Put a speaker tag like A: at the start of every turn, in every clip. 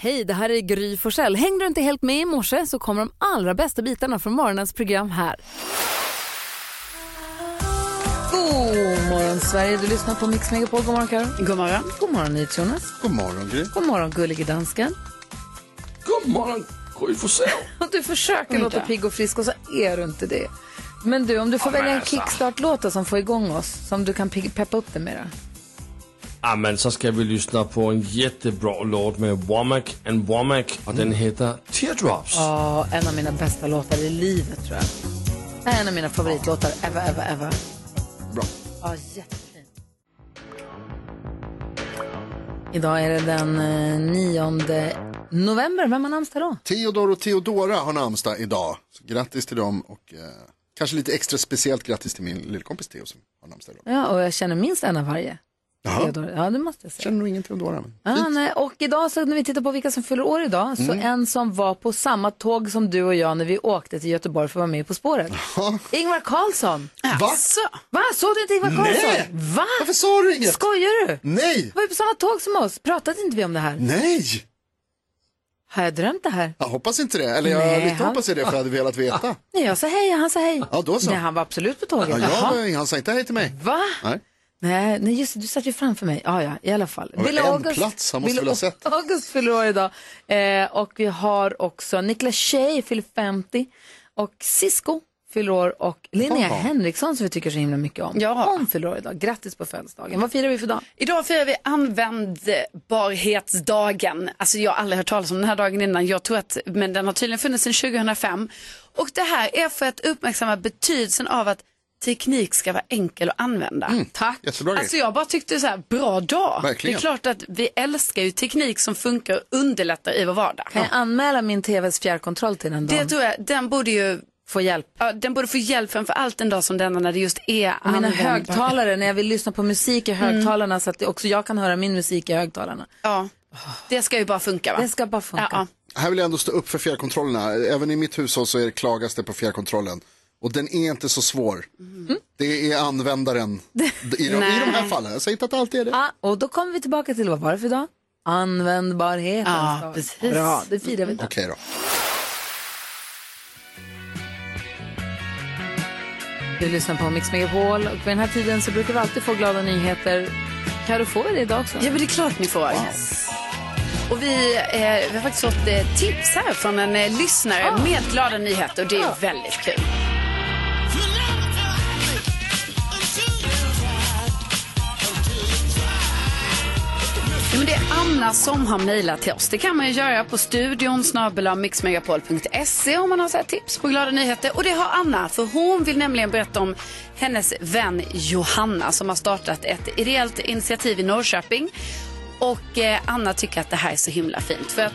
A: Hej, det här är Gry Forssell. Hängde du inte helt med i morse så kommer de allra bästa bitarna från morgonens program här. God morgon Sverige, du lyssnar på Mix Megapol. God morgon Karin. God morgon. God morgon Jonas.
B: God morgon Gry.
A: God morgon gullige dansken.
B: God morgon Gry Forssell.
A: Du försöker låta pigg och frisk och så är du inte det. Men du, om du får
C: Ja, men
A: välja en
C: alltså.
A: kickstart-låt då som får igång oss, som du kan pigg- peppa upp det med då.
C: Ja, men så ska vi lyssna på en jättebra låt med Womack and Womack och den heter Teardrops.
A: Ja, en av mina bästa låtar i livet tror jag. Det här är en av mina favoritlåtar ever, ever, ever.
B: Bra.
A: Ja, jättefin. Idag är det den eh, 9 november. Vem har namnsdag då?
B: Theodor och Theodora har namnsdag idag. Så grattis till dem och eh, kanske lite extra speciellt grattis till min lillkompis Theo som har namnsdag idag.
A: Ja, och jag känner minst en av varje. Theodor. Ja, det måste jag säga.
B: Känner nog ingen Theodora. Men...
A: Ja, Ah, nej. Och idag så när vi tittar på vilka som fyller år idag, så
B: Mm.
A: en som var på samma tåg som du och jag när vi åkte till Göteborg för att vara med På spåret.
B: Ah.
A: Ingvar Carlsson.
B: Va?
A: Va, såg du inte Ingvar Carlsson?
B: Nej.
A: Va?
B: Varför sa du inget?
A: Skojar du?
B: Nej!
A: var ju på samma tåg som oss. Pratade inte vi om det här?
B: Nej!
A: Har jag drömt det här?
B: Jag hoppas inte det. Eller jag
A: Nej,
B: lite
A: han-
B: hoppas jag det för jag hade velat veta.
A: Nej, jag sa hej och han sa hej.
B: Ja, då så.
A: Nej, han var absolut på tåget.
B: Ja, jag,
A: Jaha.
B: var- han sa inte hej till mig.
A: Va?
B: Nej.
A: Nej, nej, just det, du satt ju framför mig. Ja, ja, i alla fall.
B: var en plats, han måste
A: Bill
B: väl ha sett.
A: August fyller år idag. Eh, och vi har också Niklas Tjej fyller 50 och Cisco fyller år och Linnea
B: Jaha.
A: Henriksson som vi tycker så himla mycket om.
D: Ja.
A: Hon fyller år idag. Grattis på födelsedagen. Vad firar vi för dag?
D: Idag firar vi användbarhetsdagen. Alltså jag har aldrig hört talas om den här dagen innan. Jag tror att, men den har tydligen funnits sedan 2005. Och det här är för att uppmärksamma betydelsen av att teknik ska vara enkel att använda.
A: Mm,
D: Tack.
B: jättebra grej.
D: Alltså jag bara tyckte så här, bra dag.
B: Verkligen.
D: Det är klart att vi älskar ju teknik som funkar och underlättar i vår vardag.
A: Kan jag anmäla min tvs fjärrkontroll till den
D: Det
A: dagen?
D: tror jag, den borde ju
A: Få hjälp.
D: Ja, den borde få hjälp framför allt en dag som denna när det just är
A: Och mina
D: användbar- Mm.
A: högtalare, när jag vill lyssna på musik i högtalarna så att det också jag kan höra min musik i högtalarna.
D: Ja, det ska ju bara funka va?
A: Det ska bara funka.
D: Ja, ja.
B: Här vill jag ändå stå upp för fjärrkontrollerna. Även i mitt hushåll så är det klagas det på fjärrkontrollen. Och den är inte så svår.
A: Mm.
B: Det är användaren i de, i de här
D: Nej.
B: fallen. Jag säger inte att det alltid är det.
A: Ah, och då kommer vi tillbaka till, vad var det för dag? Användbarheten.
D: Ja,
A: dag.
D: precis. Mm.
A: Bra, det firar vi. idag.
B: Okej då.
A: Du lyssnar på Mix Megapol och vid den här tiden så brukar vi alltid få glada nyheter. Karo får vi det idag också.
D: Ja, men det är klart ni får. Och vi, eh, vi har faktiskt fått eh, tips här från en eh, lyssnare med glada nyheter och det är väldigt kul. Ja, men det är Anna som har mejlat till oss. Det kan man ju göra på studion mixmegapol.se om man har så här tips på glada nyheter. Och det har Anna, för hon vill nämligen berätta om hennes vän Johanna som har startat ett ideellt initiativ i Norrköping. Och eh, Anna tycker att det här är så himla fint. För att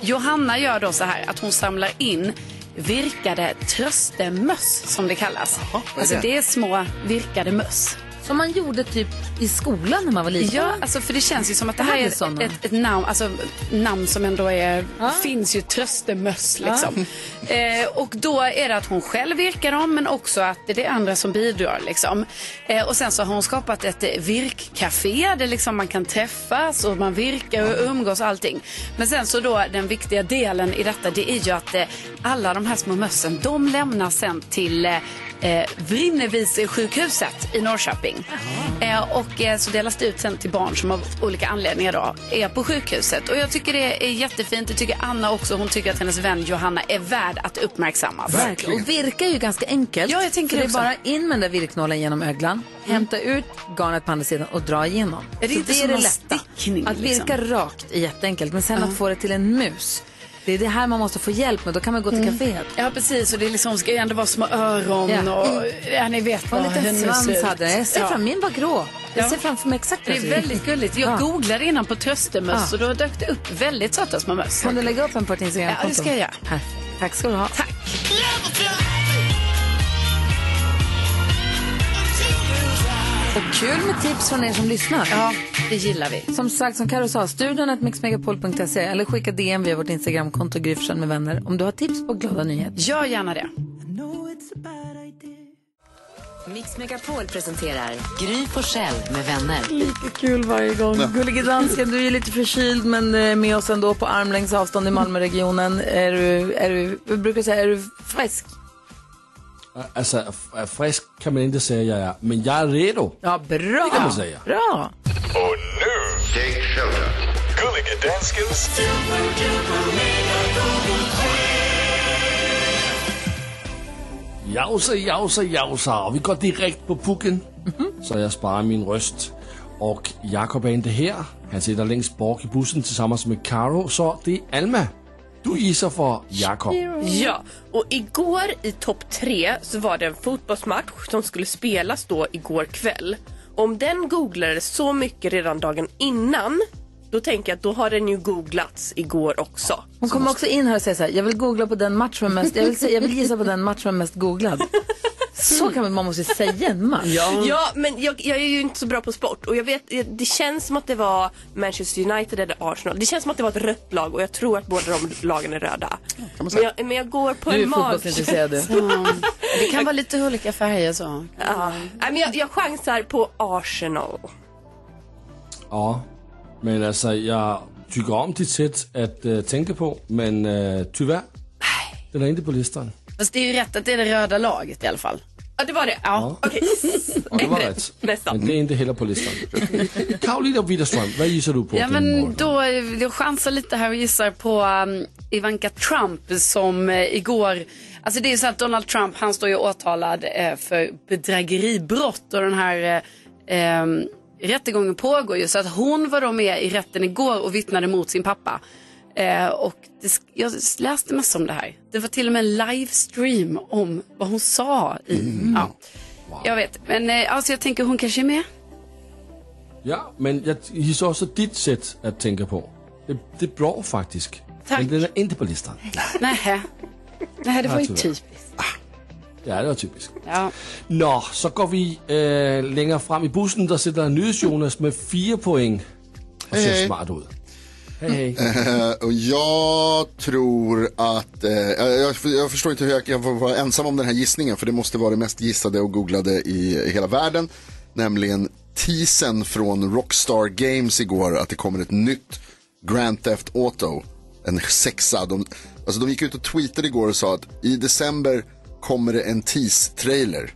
D: Johanna gör då så här att hon samlar in virkade tröstemöss som det kallas.
B: vad är
D: alltså
B: det?
D: det är små virkade möss.
A: Som man gjorde typ i skolan när man var liten.
D: Ja, alltså för det känns ju som att det här
A: hade
D: är
A: såna.
D: ett, ett, ett namn, alltså, namn som ändå är,
A: Ja.
D: finns ju tröstemöss liksom. Eh, och då är det att hon själv virkar dem men också att det är andra som bidrar liksom. Eh, och sen så har hon skapat ett eh, virkcafé där liksom man kan träffas och man virkar och umgås och allting. Men sen så då den viktiga delen i detta det är ju att eh, alla de här små mössen de lämnas sen till eh, eh, Vrinnevis sjukhuset i Norrköping. Eh, och eh, så delas det ut sen till barn som av olika anledningar då är på sjukhuset. Och jag tycker det är jättefint. Det tycker Anna också. Hon tycker att hennes vän Johanna är värd att uppmärksammas.
A: Verkligen. Och virka är ju ganska enkelt.
D: Ja, jag tänker
A: För
D: det också.
A: är bara in med den där virknålen genom öglan, hämta ut garnet på andra sidan och dra igenom.
D: Är det
A: Så
D: inte
A: det är
D: som
A: det
D: någon
A: lätta.
D: stickning, liksom?
A: Att virka rakt är jätteenkelt, men sen att få det till en mus. Det är det här man måste få hjälp med, då kan man gå till
D: Mm.
A: kaféet.
D: Ja, precis. Och det är liksom, ska ju ändå vara små öron
A: Ja.
D: och... Ja, ni vet
A: Och
D: vad
A: en liten
D: hönor ser
A: svans
D: ut.
A: hade den. Jag ser
D: Ja.
A: fram, min var grå. Jag
D: Ja.
A: ser framför mig exakt hur
D: Det
A: den
D: är
A: ser ut.
D: väldigt gulligt. Jag
A: Ja.
D: googlade innan på tröstemöss
A: Ja.
D: och då dök det upp väldigt söta små möss.
A: Kan du lägga upp en på ett Instagramkonto?
D: Ja, det ska jag göra.
A: Perfekt. Tack ska du ha.
D: Tack.
A: Och kul med tips från er som lyssnar.
D: Ja, det gillar vi.
A: Som sagt, som Karo sa, studion at mixmegapol.se eller skicka DM via vårt Instagramkonto Gry Forssell med vänner om du har tips på glada nyheter.
D: Gör gärna det.
E: Mix Megapol presenterar Gry på själv med vänner.
A: Lika kul varje gång. Gullige dansken, du är lite förkyld men eh, med oss ändå på armlängds avstånd i Malmöregionen. Är du, är du, jag brukar säga, är du frisk?
C: Alltså, f- äh, frisk kan man inte säga jag är, men jag är redo.
A: Ja, bra.
C: Det kan man säga.
A: Bra.
F: Och nu, take shelter. Gullige danskens
C: Jausa, jausa, jausa. Och vi går direkt på pucken. Så jag sparar min röst. Och Jakob är inte här. Han sitter längst bak i bussen tillsammans med Karo. Så det är Alma. Du gissar för Jakob.
G: Ja, och igår i topp tre så var det en fotbollsmatch som skulle spelas då igår kväll. Om den googlades så mycket redan dagen innan, då tänker jag att då har den ju googlats igår också.
A: Hon kommer också in här och säger så här, jag vill googla på den match som är mest, jag vill, se- jag vill gissa på den match som är mest googlad. Så kan man, man måste säga en match.
G: Ja, men jag, jag är ju inte så bra på sport och jag vet, det känns som att det var Manchester United eller Arsenal. Det känns som att det var ett rött lag och jag tror att båda de lagen är röda. Men jag, men jag går på
A: Du är
G: en mag.
A: fotbollsintresserad du.
D: Det kan vara lite olika färger så.
G: Ja. Nej, men jag, jag chansar på Arsenal.
C: Ja. Men alltså, jag tycker om ditt sätt att äh, tänka på. Men äh, tyvärr, den är inte på listan.
D: Fast det är ju rätt att det är det röda laget i alla fall.
G: Ja, det var det.
D: Ja.
G: Okej.
C: Och det var rätt.
G: Nästa.
C: Men det är inte heller på listan. Karolina Widerström, vad gissar du på?
D: Ja
C: din
D: men
C: morgon?
D: då, jag chansar lite här och gissar på um, Ivanka Trump som eh, igår, alltså det är så att Donald Trump han står ju åtalad eh, för bedrägeribrott och den här eh, ehm, rättegången pågår ju så att hon var då med i rätten igår och vittnade mot sin pappa. Eh, och det, sk- jag läste massor om det här. Det var till och med en livestream om vad hon sa i,
C: Mm.
D: ja. Jag vet, men eh, alltså jag tänker hon kanske är med.
C: Ja, men jag gissar också ditt sätt att tänka på. Det, det är bra faktiskt.
D: Tack.
C: Men den är inte på listan.
D: Nej. Nej, det var ju
C: tyvärr.
D: typiskt.
C: Ja, det var typiskt.
D: Ja.
C: Nå, så går vi äh, längre fram i bussen. Där sitter Nyhets-Jonas med fyra poäng. Och ser
B: Hej.
C: smart ut. Hej, hej.
B: Eh, och jag tror att, eh, jag, jag förstår inte hur jag kan få vara ensam om den här gissningen för det måste vara det mest gissade och googlade i hela världen. Nämligen teasern från Rockstar Games igår att det kommer ett nytt Grand Theft Auto. En sexa. De, alltså de gick ut och tweetade igår och sa att i december kommer det en tease-trailer.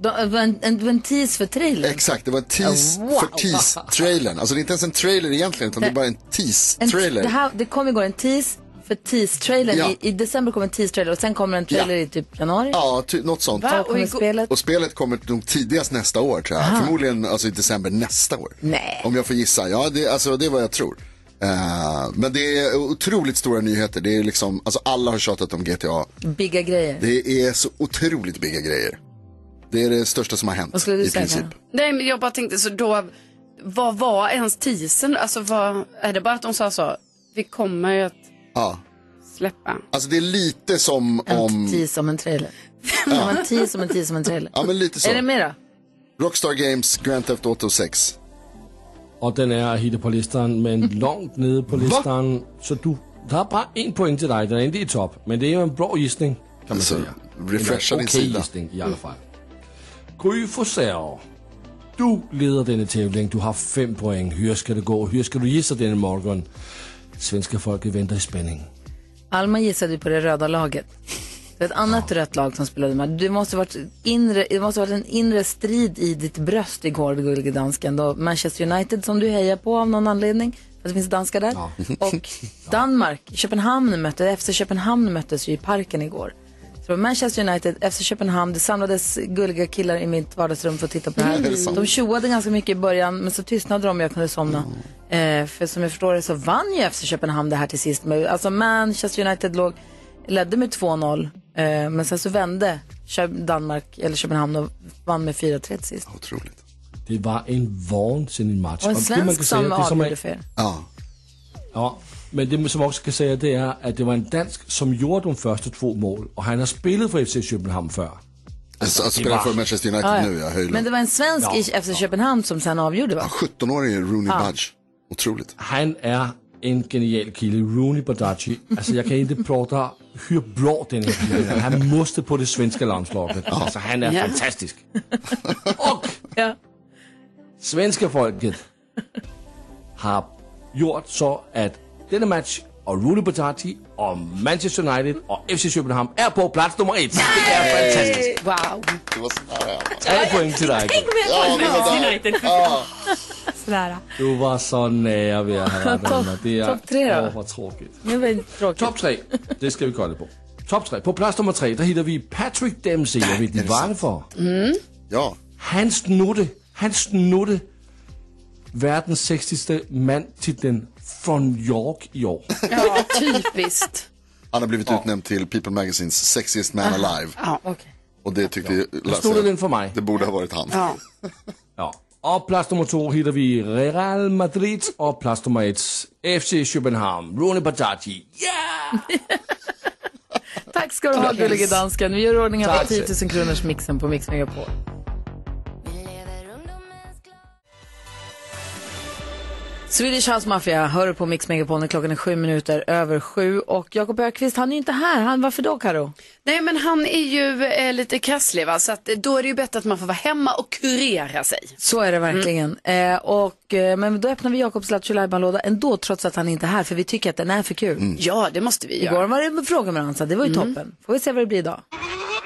A: Då- Det var en, en, det var en tease för trailern.
B: Exakt, det var en tease
A: Oh, wow.
B: för tease-trailern. Alltså det är inte ens en trailer egentligen utan det är bara en
A: En, t- det,
B: tease-trailer.
A: här, det kom igår en tease för tease-trailern.
B: Ja.
A: I, I december kom en tease-trailer och sen kommer en trailer
B: Ja.
A: i typ januari.
B: Ja, ty- något sånt.
A: Då
D: Och
A: kommer
D: igår-
A: spelet.
B: Och spelet kommer nog tidigast nästa år tror jag. Förmodligen alltså, i december nästa år.
A: Nej.
B: Om jag får gissa. Ja, det, alltså, det är vad jag tror. Eh, men det är otroligt stora nyheter. Det är liksom, alltså, alla har tjatat om GTA.
A: Bigga grejer.
B: Det är så otroligt bigga grejer. Det är det största som har hänt
A: Vad skulle du
B: i
A: säga,
B: princip.
A: Karin?
D: Nej, men jag bara tänkte så då, vad var ens teasern? Alltså, vad, är det bara att de sa så, vi kommer att
B: Ja.
D: släppa?
B: Alltså det är lite som
A: En
B: om...
A: tease om en trailer. Det var en tease om en tease om en trailer.
B: Ja men lite
A: Är det
B: så.
A: med då?
B: Rockstar Games Grand Theft Auto 6.
C: Och den är hittar på listan, men långt nede på listan. Så du, det är bara en poäng till dig. Den är inte i topp, men det är ju en bra gissning. Kan man
B: Så,
C: säga.
B: Alltså, refresha din
C: okej
B: sida.
C: gissning i alla fall. Gry Forsell, du leder denne tävling. Du har fem poäng. Hur ska det gå? Hur ska du gissa denna morgon? Svenska folket väntar i spänning.
A: Alma gissade ju på det röda laget. Det var ett annat rött lag som spelade med. Det måste, varit inre, det måste varit en inre strid i ditt bröst igår, gullige dansken. Då Manchester United som du hejar på av någon anledning, för att det finns danskar där. Och Danmark, Köpenhamn mötte, FC Köpenhamn möttes ju i parken igår. Så det var Manchester United, FC Köpenhamn, det samlades gulliga killar i mitt vardagsrum för att titta på det
B: Mm. Är det
A: här.
B: sant?
A: De tjoade ganska mycket i början, men så tystnade de och jag kunde somna. Eh, för som jag förstår det så vann ju FC Köpenhamn det här till sist. Men, Alltså Manchester United låg, ledde med 2-0, eh, men sen så vände Kö- Danmark, eller Köpenhamn och vann med 4-3 till sist.
B: Otroligt.
C: Det var en vansinnig match.
A: Och en
C: det, man
A: svensk
C: kan
A: som
C: säga, det som är-
A: avgjorde för er.
B: Ja.
C: Ja, men det som också kan säga det är att det var en dansk som gjorde de första två mål och han har spelat för FC Köpenhamn förr.
B: Alltså, alltså
C: det
B: spelar
C: var-
B: för Manchester United
A: Ja, ja.
B: nu, ja. Höjlund.
A: Men det var en svensk
C: Ja.
A: i FC Köpenhamn som sen avgjorde va?
B: 17-årige Rooney Budge. Otroligt.
C: Han är en genial kille, Rooney Badaci. Alltså jag kan inte prata hur bra den här killen är. Han måste på det svenska landslaget. Alltså han är
D: Ja.
C: fantastisk. Och svenska folket har gjort så att denna match och Rudi Botati och Manchester United och FC Köpenhamn är på plats nummer ett. Det är fantastiskt.
D: Wow.
B: Det var sådär, ja.
C: Alla poäng till dig. Kim.
B: Ja, det var där.
G: United.
H: Sådär.
C: Du var så nära vid att ha den. Det är
A: Topp tre då?
C: åh, vad tråkigt.
A: Det var tråkigt.
C: Top 3, det ska vi kolla på. Top 3. På plats nummer 3, där hittar vi Patrick Dempsey. Jag vet inte varför.
B: ja.
C: Han snodde, han snodde världens sexigaste man till den från York i år.
D: Ja, typiskt.
B: Han har blivit utnämnd till People Magazines Sexiest Man Alive.
D: Ah. Ja.
B: Och det tyckte
C: Snodde den
B: Lasse,
C: för mig.
B: det borde ha varit han.
D: Ja.
C: Ja. Och plats nummer 2 hittar vi Real Madrid och plats nummer 1 FC Köpenhamn. Rooney Bajati.
A: Tack ska du ha, gullige dansken. Vi gör i ordning att 10 000 kronors mixen på Mix Megapol. Swedish House Mafia hör du på Mix Megapol när klockan är sju minuter över sju. Och Jakob Ökvist, han är ju inte här. Han, varför då, Karo?
D: Nej men han är ju eh, lite krasslig va, så att, eh, då är det ju bättre att man får vara hemma och kurera sig.
A: Så är det verkligen. Eh, och, eh, men då öppnar vi Jakobs Lattjo-lajban-låda ändå, trots att han inte är här, för vi tycker att den är för kul.
D: Ja, det måste vi göra.
A: Igår var det frågor med Ansa, det var ju toppen. Får vi se vad det blir idag.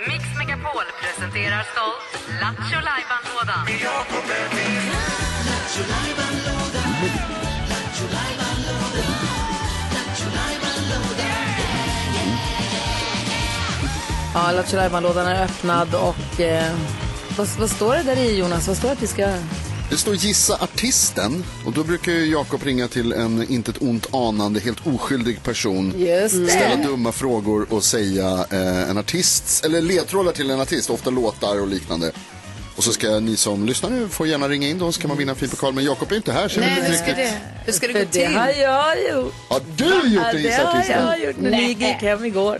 E: Mix Megapol presenterar stolt Lattjo Lajban-lådan.
A: Ja, Lattjo-lajban-lådan är öppnad och eh, vad, vad står det där i Jonas? Vad står det att vi ska göra?
B: Det står gissa artisten och då brukar ju Jakob ringa till en intet ont anande, helt oskyldig person.
A: Just
B: Ställa dumma frågor och säga eh, en artist, eller ledtrådar till en artist, ofta låtar och liknande. Och så ska ni som lyssnar nu få gärna ringa in då, så kan man vinna en fin pokal. Men Jakob är inte här, så jag vet
D: Nej,
B: inte
D: hur ska
B: riktigt.
D: det, hur ska det gå
A: För det har
D: till?
A: jag gjort.
B: Har du gjort
A: Ja,
B: det,
A: det
B: gissa
A: har
B: artisten?
A: jag gjort när vi gick hem igår.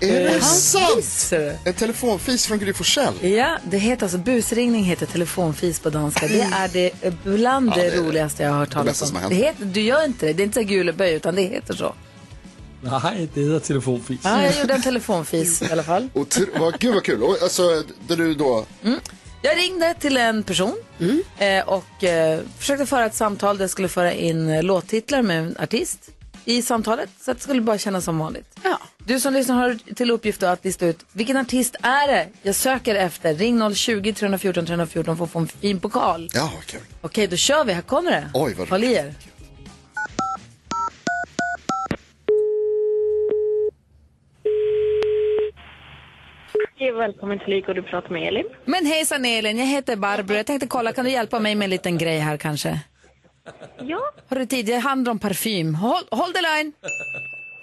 A: Eh,
B: Är det sant?
A: Visst är det.
B: En telefonfis från Gry Forssell.
A: Ja, det heter alltså busringning heter telefonfis på danska. Det är det eh, bland
B: Ja,
A: det,
B: det är
A: roligaste jag har hört
B: bästa
A: talas
B: som
A: om.
B: har hänt.
A: Det heter, du gör inte det, det är inte så här gul och böj utan det heter så.
C: Nej, det heter telefonfis.
A: Ja, jag gjorde en telefonfis i alla fall.
B: Och tr- vad, gud vad kul. Och, alltså, där du då,
A: Jag ringde till en person eh, och eh, försökte föra ett samtal där jag skulle föra in eh, låttitlar med en artist i samtalet så att det skulle bara kännas som vanligt.
D: Ja.
A: Du som lyssnar har till uppgift då att lista ut vilken artist är det jag söker efter. Ring 020-314 314 för att få en fin pokal.
B: ja vad kul.
A: Okej, då kör vi. Här kommer det.
B: Oj, vad
A: Håll i er.
I: Hej och välkommen till Lyko, du pratar med Elin.
A: Men hejsan Elin, jag heter Barbro. Jag tänkte kolla, kan du hjälpa mig med en liten grej här kanske?
I: Ja,
A: Har du tid? Jag handlar om parfym. Håll, håll the line!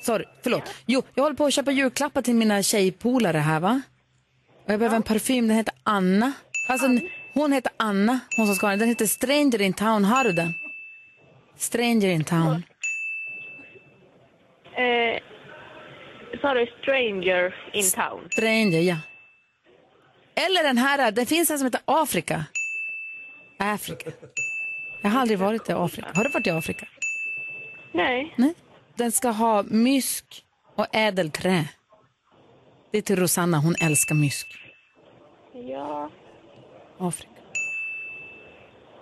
A: Sorry, förlåt. Jo, jag håller på att köpa julklappar till mina tjejpolare här va? Och jag behöver en parfym, den heter Anna. Alltså, n- hon heter Anna, hon som ska ha den. Den heter Stranger in Town, har du den? Stranger in Town.
I: eh, sa du Stranger in Town?
A: Stranger, ja. Eller den här, det finns en som heter Afrika. Afrika. Jag har aldrig varit i Afrika. Har du varit i Afrika?
I: Nej.
A: Nej. Den ska ha mysk och ädelträ. Det är till Rosanna, hon älskar mysk.
I: Ja,
A: Afrika.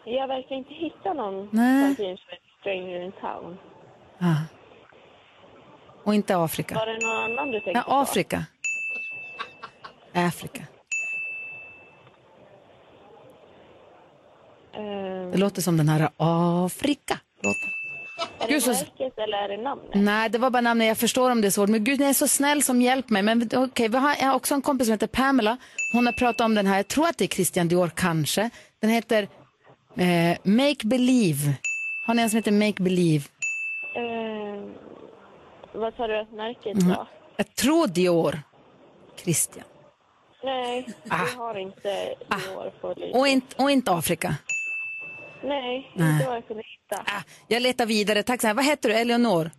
I: jag verkar inte hitta någon
A: Nej.
I: som finns med Stranger in Town.
A: Ah. Och inte Afrika.
I: Var det någon annan du tänkte
A: Ja,
I: på?
A: Afrika. Afrika.
I: Eh,
A: Det låter som den här Afrika. låten.
I: är
A: Gud,
I: det
A: så-
I: verket eller är det namnet?
A: Nej, det var bara namnet. Jag förstår om det är svårt. Men gud, ni är så snäll som hjälper mig. Men okej, vi har jag har också en kompis som heter Pamela. Hon har pratat om den här. Jag tror att det är Christian Dior, kanske. Den heter eh, Make Believe. Har ni en som heter Make Believe?
I: Eh, vad sa du att
A: Mm.
I: märket var?
A: Jag tror Dior. Christian.
I: Nej, vi har inte Dior på Lyko.
A: Ah. Och, inte och inte Afrika.
I: Nej,
A: Nej.
I: inte vad jag kunde hitta.
A: Ah, jag letar vidare. Tack så här. Vad heter du? Eleonor?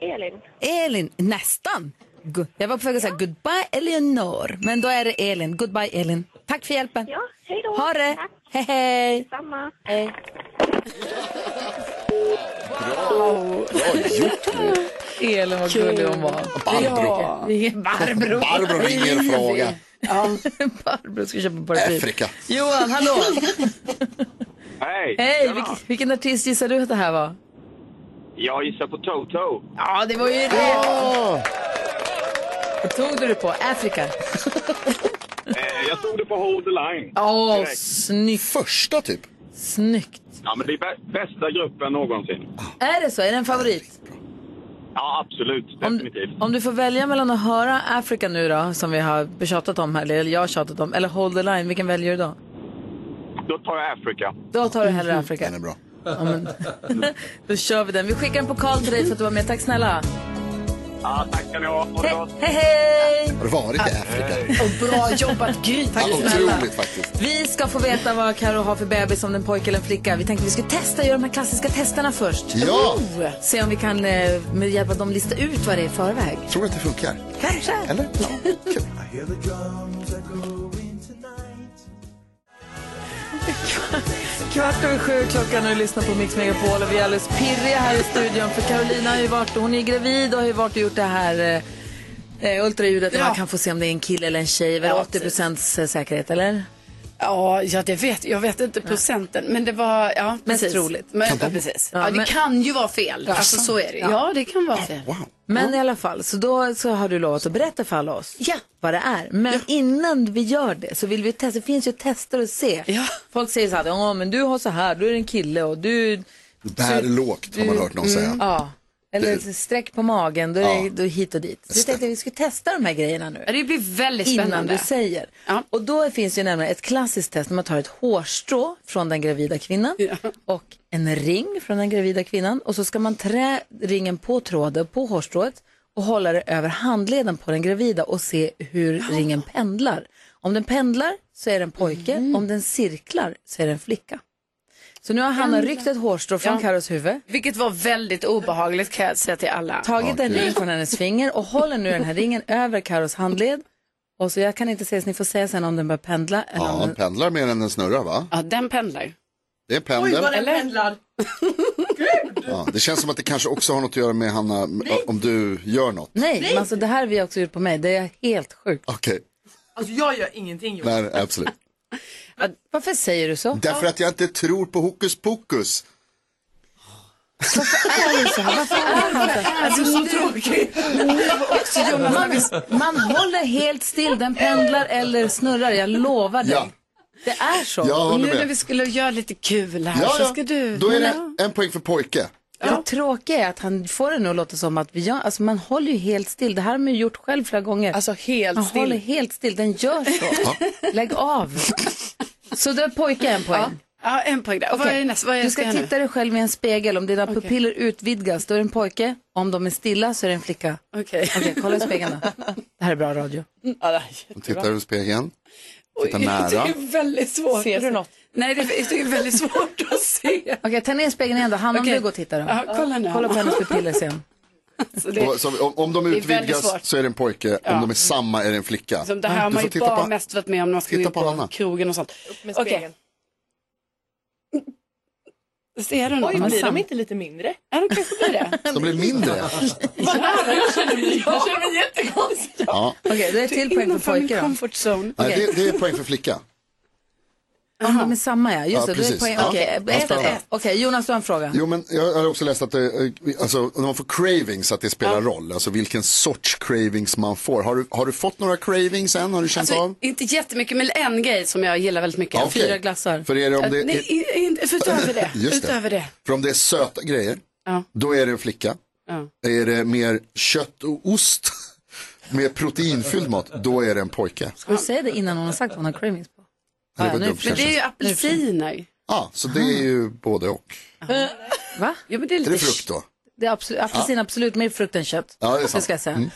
I: Elin.
A: Elin. Nästan. Gu- Jag var på väg att säga goodbye Eleonor. Men då är det Elin. Goodbye Elin. Tack för hjälpen.
I: Ja, hej då.
A: Ha det.
I: Tack
A: Hej hej.
I: samma.
B: Bra gjort.
A: Elin, vad gullig hon var.
B: Barbro.
A: Barbro.
B: Barbro ringer och frågar.
A: Barbro ska köpa paraply.
B: Afrika.
A: Johan, hallå!
J: Hej!
A: Hej! Vilken, vilken artist gissar du att det här var?
J: Jag gissar på Toto.
A: Ja, det var ju rätt! Eh,
B: Ah!
A: Vad tog du det på? Afrika?
J: Eh, jag tog det på Hold the Line.
A: Åh,
J: Direkt.
A: snyggt!
B: Första typ.
A: Snyggt!
J: Ja, men det är bä- bästa gruppen någonsin.
A: Är det så? Är det en favorit?
J: Ja, absolut.
A: Om,
J: Definitivt.
A: om du får välja mellan att höra Afrika nu då, som vi har tjatat om här, eller jag har tjatat om, eller Hold the line, vilken väljer du då?
J: Då tar jag Afrika.
A: Då tar du hellre Afrika.
B: Den är bra.
A: Ja, men, då kör vi den. Vi skickar en pokal till dig för att du var med. Tack snälla!
J: Ja, tack ska ni ha. Ha det gott.
A: Hej, hej!
B: Har du varit i Afrika?
A: Och bra jobbat, Gry! Tack
B: Ja,
A: snälla!
B: otroligt faktiskt.
A: Vi ska få veta vad Karo har för bebis, om den pojke eller en flicka. Vi tänkte vi skulle testa, göra de här klassiska testerna först.
B: Ja.
A: Oh, se om vi kan eh, med hjälp av dem lista ut vad det är i förväg.
B: Tror du att det funkar?
A: Kanske.
B: Eller? Ja, kul.
A: Kvart över sju klockan och du lyssnar på Mix Megapol och vi är alldeles pirriga här i studion för Carolina har ju varit, hon är gravid och har ju varit och gjort det här eh, eh, ultraljudet där man kan få se om det är en kille eller en tjej. Väl
D: Ja,
A: 80 procents eh, säkerhet eller?
D: Ja, ja det vet, jag vet inte procenten, men det var ja,
A: Mest
D: precis.
A: troligt.
D: Men, ja, precis.
A: Ja,
D: Ja, det
A: men-
D: kan ju vara fel. Alltså, så är det. Äh, Ja. ja, det kan vara fel.
B: Wow.
A: Men i alla fall, så då så har du lovat att berätta för alla oss
D: Ja.
A: vad det är. Men innan vi gör det så vill vi testa, det finns ju tester att se.
D: Ja.
A: Folk säger så här, ja men du har så här, du är en kille och du,
B: Bär lågt har man hört någon säga.
A: Mm. ja. Eller sträck på magen, då är
B: Ja.
A: det då hit och dit. Så vi tänkte att vi skulle testa de här grejerna nu.
D: Ja, Det blir väldigt
A: innan du
D: spännande.
A: säger.
D: Ja.
A: Och då finns ju nämligen ett klassiskt test när man tar ett hårstrå från den gravida kvinnan och en ring från den gravida kvinnan och så ska man trä ringen på tråden på hårstrået och hålla det över handleden på den gravida och se hur ringen pendlar. Om den pendlar så är det en pojke,
D: Mm.
A: om den cirklar så är det en flicka. Så nu har Hanna ryckt ett hårstrå från
D: Ja.
A: Karos huvud,
D: Vilket var väldigt obehagligt kan jag säga till alla.
A: tagit en ring från hennes finger och håller nu den här ringen över Karos handled. Och så jag kan inte säga så ni får säga sen om den börjar pendla eller om
B: Ja,
A: den
B: den pendlar mer än den snurrar va?
D: Ja, den pendlar.
B: Det är en pendel.
D: Eller?
B: Ja, det känns som att det kanske också har något att göra med Hanna, om du gör något.
A: Nej, men alltså det här vi också gjort på mig. Det är helt sjukt.
B: Okej,
H: Alltså jag gör ingenting Johan.
B: nej absolut.
A: Varför säger du så?
B: Därför att jag inte tror på hokus pokus.
H: Alltså så tråkigt.
A: Man, man håller helt still. Den pendlar eller snurrar. Jag lovar dig.
B: Ja,
A: Det är så.
B: jag
D: Och
B: håller
D: nu när
B: med.
D: vi skulle göra lite kul här
B: Ja,
D: så ska
B: ja.
D: du...
B: Då är det en poäng för pojke.
A: Det tråkiga är att han får det nog att låta som att vi gör, alltså man håller ju helt still. Det här har man ju gjort själv flera gånger.
G: Alltså helt
A: man håller
G: still.
A: helt still. Den gör så. Lägg av. Så det är pojke en poäng.
D: Ja, en poäng där. Och vad är nästa? Vad är
A: Du ska
D: jag göra
A: titta dig själv i en spegel. Om dina pupiller utvidgas, då är det en pojke. Om de är stilla så är det en flicka.
D: nu? Okej.
A: Okej, kolla i spegeln då. Det här är bra radio.
B: Tittar du i spegeln? Titta
D: Det
B: nära.
D: är väldigt svårt.
A: Ser du något?
D: Nej, det är, det är väldigt svårt att se.
A: Okej, ta ner spegeln igen då. Hanna,
D: Okej.
A: om du går och tittar då.
D: Ja, kolla nu.
A: Kolla på hennes pupiller sen.
D: Så det,
B: Och, så, om, om de
D: väldigt
B: utvidgas
D: svårt.
B: så är det en pojke, om de är samma är det en flicka.
D: som Liksom, det här har
B: Du
D: man
B: får
D: ju
B: titta
D: bara
B: på-
D: mest varit med om när man ska gå
B: titta
D: ut
B: på
D: på
B: Anna.
D: krogen och sånt.
G: Med
D: Okej.
G: spegeln.
D: Ser du något?
G: Oj, blir
D: Sam-
G: de inte lite mindre?
D: Ja, då kanske blir det.
B: De blir mindre.
G: Jag känner mig jättekonstig.
B: Ja.
A: Okej, då är det till poäng för
D: Innanför min
A: pojke då.
D: comfort zone.
B: Nej, det, det är poäng för flicka.
A: Ja, de är samma ja. Just
B: Ja,
A: det, då är det
B: precis.
A: poäng.
B: Ja.
A: Okej,
B: Ja,
A: ett,
B: spännande.
A: ett. Okej, Jonas du har en fråga.
B: Jo, men jag har också läst att det, eh, alltså, när man får cravings att det spelar roll. Alltså vilken sorts cravings man får. Har du, har du fått några cravings än? Har du känt
D: Alltså,
B: av?
D: inte jättemycket, men en grej som jag gillar väldigt mycket.
B: Ja, okej.
A: fyra glassar.
B: För är det om det,
D: Äh, Nej, i- inte, för utöver det.
B: Just det.
D: utöver det.
B: För om det är söta grejer,
D: Ja.
B: då är det en flicka. Är det mer kött och ost, mer proteinfylld mat, då är det en pojke.
A: Ska du säga det innan hon har sagt vad hon har cravings på?
B: Det var
A: nu-
B: dumt,
A: men
D: Men
B: kanske.
D: det är ju apelsiner.
B: Ja, så det är ju både och.
A: Va?
D: Ja, men det är
B: Är
D: lite
B: det frukt då?
A: Det är absolut, apelsin absolut mer frukt än kött.
B: Ja, det är sant.
A: ska jag säga.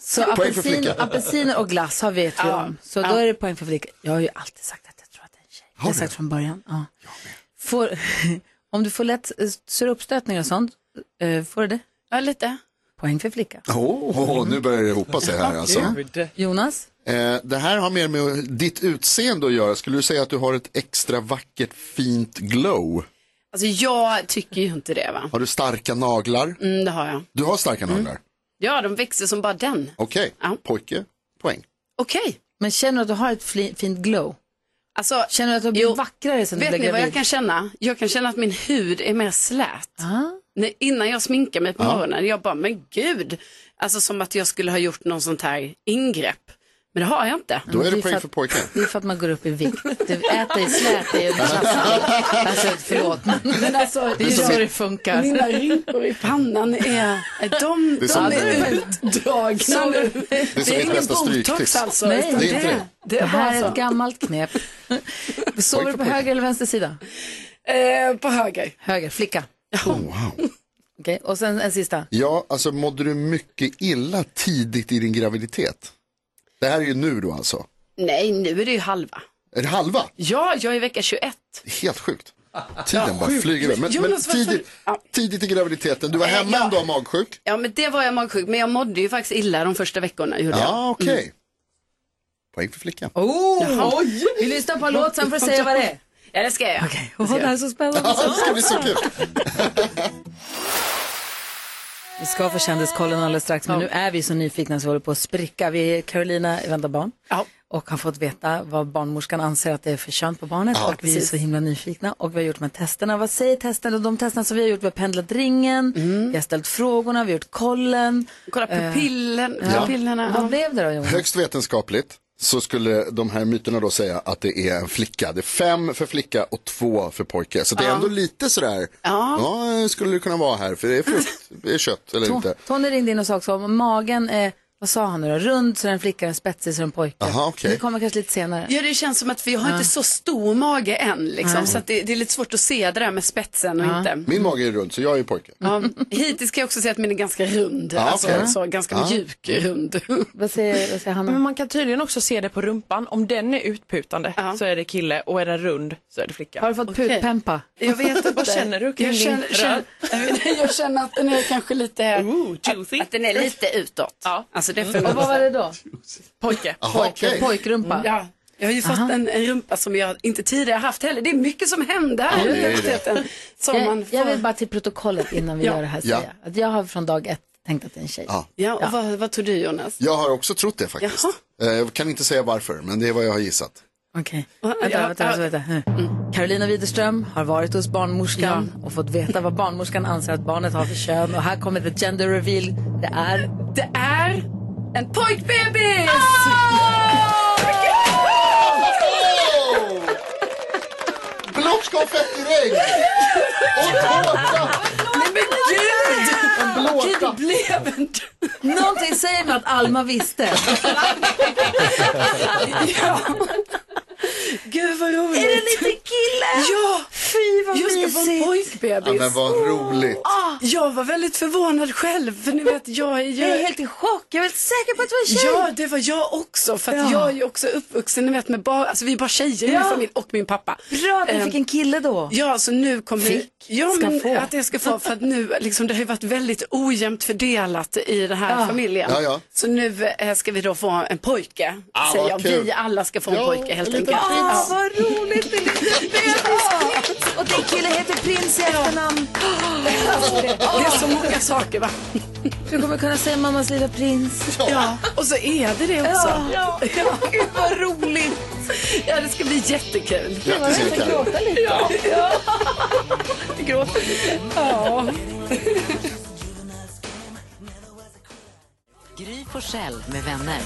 A: Så
B: Poäng för
A: apelsin,
B: flicka.
A: apelsiner och glass har vet vi om. Så då är det poäng för flicka. Jag har ju alltid sagt att jag tror att det är en tjej. det har jag
B: du?
A: sagt från början. Ja. Får, om du får lätt eh, surupstötningar och sånt, eh, får du det?
D: Ja, lite.
A: Poäng för flicka.
B: Åh, nu börjar det hopa sig här alltså.
A: Jonas?
B: Eh, det här har mer med ditt utseende att göra. Skulle du säga att du har ett extra vackert fint glow?
D: Alltså jag tycker ju inte det va.
B: Har du starka naglar?
D: Mm, det har jag.
B: Du har starka
A: Mm.
B: naglar?
D: Ja, de växer som bara den.
B: Okej, pojke, poäng.
D: Okej.
A: Men känner du att du har ett fli- fint glow?
D: Alltså,
A: känner du att du har blivit vackrare sen du
D: Vet
A: blev
D: ni vad
A: gravid?
D: jag kan känna? Jag kan känna att min hud är mer slät.
A: Ah.
D: När, innan jag sminkar mig på
A: Ja.
D: morgonen, jag bara, men gud. Alltså som att jag skulle ha gjort någon sånt här ingrepp. Men det har jag inte.
B: Då är det poäng för pojken.
A: Det är för att man går upp i vikt. Du äter dig slät, det är ju klassiskt. Alltså förlåt. Men alltså, det är ju
D: som
A: så
D: min-
A: det funkar.
D: Mina rynkor i pannan är, är de,
A: Det är
D: är,
A: som-
D: de är utdragna.
A: Som-
D: nu.
A: Det är som mitt bästa stryktips. Nej,
D: alltså, utan
A: det är inte det.
D: det alltså,
A: Det här
D: var
A: är
D: så.
A: ett gammalt knep. Sover du på höger eller vänster sida?
D: eh, på höger.
A: Höger, flicka. Okej, och sen en sista.
B: Ja, alltså mådde du mycket illa tidigt i din graviditet? Det här är ju nu då alltså.
D: Nej, nu är det ju halva.
B: Är det halva?
D: Ja, jag är i vecka 21.
B: Helt sjukt. Tiden
D: Ja,
B: bara
D: sjukt.
B: flyger iväg. Men, men
D: Jonas, varför-
B: tidigt, tidigt i graviditeten, du var
D: Eh,
B: hemma en dag magsjuk.
D: Ja, men det var jag magsjuk, men jag mådde ju faktiskt illa de första veckorna. Gjorde jag.
A: Ah,
B: Ja, okej.
D: Mm. Oh.
B: Poäng för flickan.
D: Jaha.
A: Vi lyssnar på en låt, sen får du säga vad det är.
D: Ja, det ska jag göra. Okej,
A: Åh, det här är så spännande.
B: Ja, det ska bli så kul.
A: Vi ska få kändiskollen alldeles strax, men nu är vi så nyfikna så vi håller på att spricka. Vi är Carolina väntar barn och har fått veta vad barnmorskan anser att det är för kön på barnet
E: Ja,
A: och vi är
E: precis.
A: så himla nyfikna. Och vi har gjort de här testerna. Vad säger testerna? De testerna som vi har gjort, vi har pendlat ringen, vi har ställt frågorna, vi har gjort kollen.
D: Kolla pupillen,
B: Ja.
D: pupillerna.
A: Vad blev det då Jonas?
B: Högst vetenskapligt så skulle de här myterna då säga att det är en flicka. Det är fem för flicka och två för pojke. Så det är
A: Ja.
B: ändå lite sådär, ja, skulle det kunna vara här, för det är frukt, det är kött eller inte.
A: Tony ringde in och sa också om magen är, vad sa han nu då, rund så den flickar, en spetsig så den pojke.
B: Aha, okej.
A: Det kommer kanske lite senare.
D: Ja, det känns som att vi har
A: Ja.
D: inte så stor mage än, liksom,
A: Nej.
D: så att det, det är lite svårt att se det där med spetsen och inte.
B: Min mage är rund så jag är pojke.
D: Ja, hittills kan jag också säga att min är ganska rund,
B: Ja,
D: alltså,
B: okej.
D: så, ganska
B: Ja.
D: mjuk rund.
A: Vad säger, vad säger Hanna?
D: Mm.
H: Men man kan tydligen också se det på rumpan. Om den är utputande så är det kille och är den rund så är det flicka.
A: Har du fått putpempa?
D: Jag vet inte.
H: Vad känner du kring
D: jag
H: din
D: känner, känner, jag känner att den är kanske lite...
H: juicy.
D: Att, att den är lite utåt. Ja. Alltså, det får jag
A: Och vad var det då?
H: Pojke.
D: Pojke,
A: Pojkrumpa.
D: Ja. Jag har ju fått en, en rumpa som jag inte tidigare haft heller. Det är mycket som händer
A: Ja,
D: här i
A: det är det.
D: graviditeten. Som
A: Jag,
D: man får...
A: jag vill bara till protokollet innan vi
D: Ja.
A: gör det här
B: Ja.
A: säga att jag har från dag ett tänkt att det är en tjej.
B: Ja.
D: Ja, och Vad, vad tror du Jonas?
B: Jag har också trott det faktiskt. Eh, Jag kan inte säga varför, men det är vad jag har gissat.
A: Okej. Vänta, vänta, vänta, vänta. Mm. Carolina Widerström har varit hos barnmorskan och fått veta vad barnmorskan anser att barnet har för kön. Och här kommer the gender reveal. Det är...
D: Det är en pojkbebis!
A: Ah!
B: Blått konfettiregn! Och tårta!
D: Nej men gud!
B: En blåsa.
D: Okej, det blev en...
A: Någonting säger mig att Alma visste.
D: ja. Gud vad roligt.
A: Är det en liten kille?
D: Ja!
A: Fy vad
D: Just det,
A: mysigt.
D: var en
B: Ja,
D: pojkbebis.
B: men vad roligt.
D: Ah, jag var väldigt förvånad själv, för ni vet jag är ju...
A: Jag är helt i chock. Jag är helt säker på att det var en tjej.
D: Ja, det var jag också. För att
A: Ja.
D: jag är ju också uppvuxen, ni vet, med bara, alltså vi är bara tjejer i
A: Ja.
D: min familj och min pappa.
A: Bra att ni
D: Ehm,
A: fick en kille då.
D: Ja, så nu kommer
A: Fick,
D: ja,
A: ska
D: men,
A: få.
D: att jag ska få, för att nu, liksom, det har ju varit väldigt ojämnt fördelat i den här
A: Ja.
D: familjen.
B: Ja, ja.
D: Så nu eh, ska vi då få en pojke,
B: Ah,
D: säger
B: vad
D: jag.
B: kul.
D: Vi alla ska få en
B: Ja,
D: pojke helt
B: en liten
D: enkelt.
A: Åh, vad roligt! Det är lite bebis. Och din kille heter Prins i efternamn.
D: Det är så många saker va?
A: Du kommer kunna säga mammas lilla prins.
D: Ja, och så är det det också.
A: Ja.
D: Ja,
A: Gud vad roligt!
D: ja det ska bli jättekul.
B: Grattis
A: Jag kan
B: Erika.
A: gråta lite. Ja.
D: Gråter. Ja.
E: Gry Forssell med vänner.